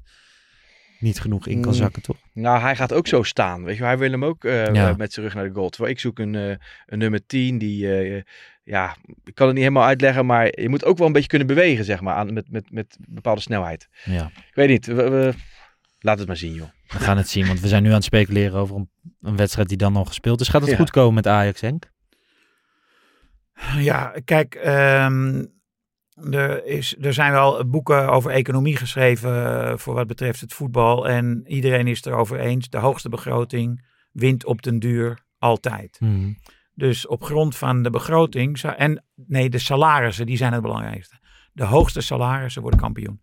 J: niet genoeg in kan
F: Mm.
J: zakken, toch?
F: Nou, hij gaat ook zo staan. Weet je, wel. hij wil hem ook eh,
J: Ja.
F: met zijn rug naar de goal. Terwijl ik zoek een, eh, een nummer 10 die, eh, ja, ik kan het niet helemaal uitleggen, maar je moet ook wel een beetje kunnen bewegen, zeg maar, aan, met, met, met bepaalde snelheid.
D: Ja,
F: Ik weet niet, we, we- laat het maar zien, joh.
D: we gaan het zien, want we zijn nu aan het speculeren over een, een wedstrijd die dan nog gespeeld is. Gaat het
F: Ja.
D: goed komen met Ajax, Henk?
E: Ja, kijk, ehm, er, is, er zijn wel boeken over economie geschreven eh, voor wat betreft het voetbal. En iedereen is het erover eens. De hoogste begroting wint op den duur altijd. Dus op grond van de begroting zou- en nee, de salarissen, die zijn het belangrijkste. De hoogste salarissen worden kampioen.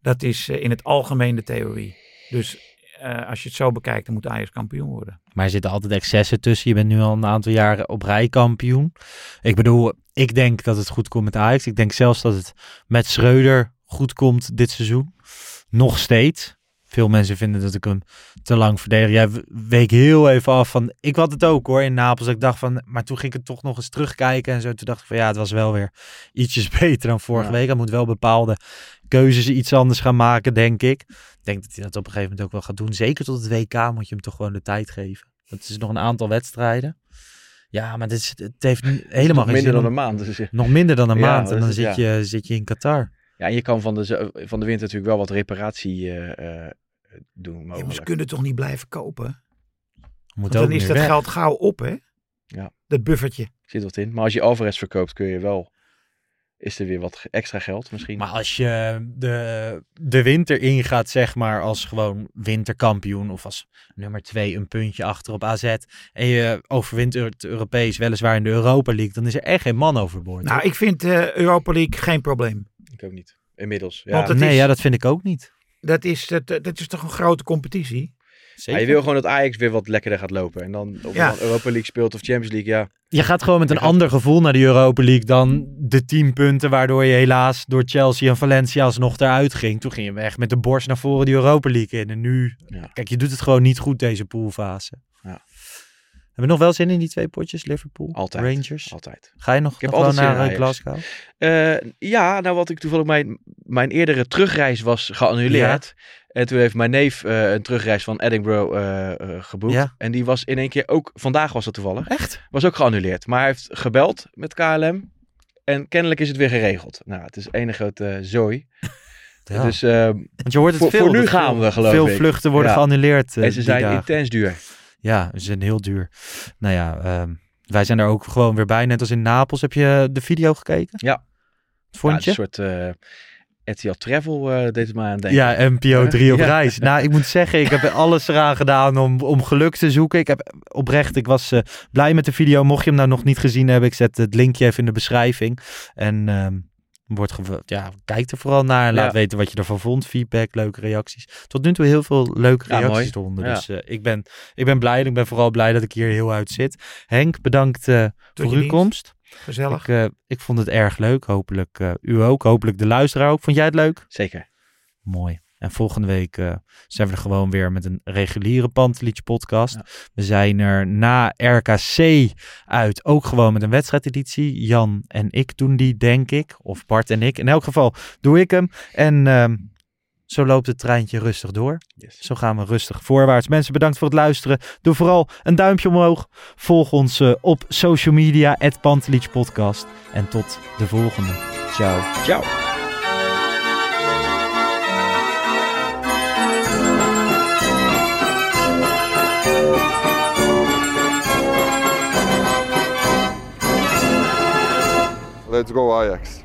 E: Dat is eh, in het algemeen de theorie. Dus eh, als je het zo bekijkt, dan moet Ajax kampioen worden.
D: Maar er zitten altijd excessen tussen. Je bent nu al een aantal jaren op rij kampioen. Ik bedoel, ik denk dat het goed komt met Ajax. Ik denk zelfs dat het met Schreuder goed komt dit seizoen. Nog steeds. Veel mensen vinden dat ik hem te lang verdedig. Jij w- week heel even af van... Ik had het ook hoor in Napels. Ik dacht van... Maar toen ging ik het toch nog eens terugkijken en zo. Toen dacht ik van ja, het was wel weer ietsjes beter dan vorige
F: Ja.
D: week. Hij moet wel bepaalde keuzes iets anders gaan maken, denk ik. Ik denk dat hij dat op een gegeven moment ook wel gaat doen. Zeker tot het WK moet je hem toch gewoon de tijd geven. Dat is nog een aantal wedstrijden. Ja, maar dit is, het heeft n- helemaal
F: Nog
D: geen
F: minder
D: zin
F: dan
D: om-
F: een maand. Dus, eh,
D: nog minder dan een
F: Ja,
D: maand.
F: dat
D: En dan
F: is het,
D: zit, je, zit je in Qatar.
F: ja, en je kan van de, zo- van de winter natuurlijk wel wat reparatie eh, eh, doen
E: Jongens
F: mogelijk.
E: kunnen toch niet blijven kopen?
D: Moet
E: Want
D: ook
E: dan is
D: nu
E: dat
D: weg.
E: geld gauw op, hè?
F: Ja.
E: Dat buffertje.
F: Zit wat in. Maar als je Alvarez verkoopt, kun je wel, is er weer wat ge- extra geld misschien.
D: Maar als je de, de winter ingaat, zeg maar, als gewoon winterkampioen of als nummer twee een puntje achter op AZ en je overwint het Europees, weliswaar in de Europa League, dan is er echt geen man overboord.
E: Nou,
D: hoor.
E: ik vind eh, Europa League geen probleem.
F: Ik ook niet. Inmiddels, ja.
E: Want het-
D: nee,
E: is-
D: ja, dat vind ik ook niet.
E: Dat is, dat, dat is toch een grote competitie?
F: Maar je wil gewoon dat Ajax weer wat lekkerder gaat lopen. En dan of
E: Ja.
F: dan Europa League speelt of Champions League, ja.
D: Je gaat gewoon met een
F: Je gaat-
D: ander gevoel naar de Europa League dan de 10 punten waardoor je helaas door Chelsea en Valencia alsnog eruit ging. Toen ging je weg met de borst naar voren die Europa League in. En nu,
F: Ja.
D: kijk, je doet het gewoon niet goed deze poolfase.
F: Ja.
D: Hebben we nog wel zin in die twee potjes? Liverpool,
F: Altijd.
D: Rangers.
F: Altijd.
D: Ga je nog,
F: Ik heb
D: nog wel
F: altijd zin in
D: naar eh,
F: Ajax.
D: Glasgow?
F: Eh, ja, nou wat ik toevallig mijn, mijn eerdere terugreis was geannuleerd. En toen heeft mijn neef eh, een terugreis van Edinburgh eh, eh, geboekt.
D: Ja.
F: En die was in één keer ook, vandaag was dat toevallig,
D: Echt?
F: was ook geannuleerd. Maar hij heeft gebeld met KLM. En kennelijk is het weer geregeld. Nou, het is ene grote eh, zooi.
D: Ja.
F: Dus, eh,
D: Want je hoort het
F: voor-
D: veel.
F: voor nu
D: dat
F: gaan
D: veel-
F: we, geloof
D: Veel
F: ik.
D: vluchten worden
F: Ja.
D: geannuleerd. eh,
F: en ze
D: die
F: zijn
D: dagen.
F: intens duur.
D: Ja, ze zijn heel duur. Nou ja, ehm, wij zijn er ook gewoon weer bij. Net als in Napels. Heb je de video gekeken?
F: Ja.
D: Wat vond
F: Ja,
D: je?
F: een soort eh RTL Travel eh, deed het me aan denken.
D: Ja, NPO
F: Huh?
D: 3 op
F: Ja.
D: reis. Nou, ik moet zeggen, ik heb er alles eraan gedaan om, om geluk te zoeken. Ik heb oprecht, ik was eh, blij met de video. Mocht je hem nou nog niet gezien hebben, ik zet het linkje even in de beschrijving. En ehm wordt gew- ja, kijk er vooral naar. en Laat
F: Ja.
D: weten wat je ervan vond. Feedback, leuke reacties. Tot nu toe heel veel leuke
F: Ja,
D: reacties
F: mooi.
D: eronder.
F: Ja.
D: Dus eh, ik, ben, ik ben blij en ik ben vooral blij dat ik hier heel uit zit. Henk, bedankt eh, voor uw
E: je dienst.
D: komst.
E: Gezellig.
D: Ik, eh, ik vond het erg leuk. Hopelijk eh, u ook. Hopelijk de luisteraar ook. Vond jij het leuk?
F: Zeker.
D: Mooi. En volgende week eh, zijn we er gewoon weer met een reguliere Pantelietje podcast.
F: Ja.
D: We zijn er na RKC uit ook gewoon met een wedstrijdeditie. Jan en ik doen die, denk ik. Of Bart en ik. In elk geval doe ik hem. En ehm, zo loopt het treintje rustig door. Zo gaan we rustig voorwaarts. Mensen, bedankt voor het luisteren. Doe vooral een duimpje omhoog. Volg ons eh, op social media, at Pantelietje podcast. En tot de volgende. Ciao.
K: Let's go Ajax.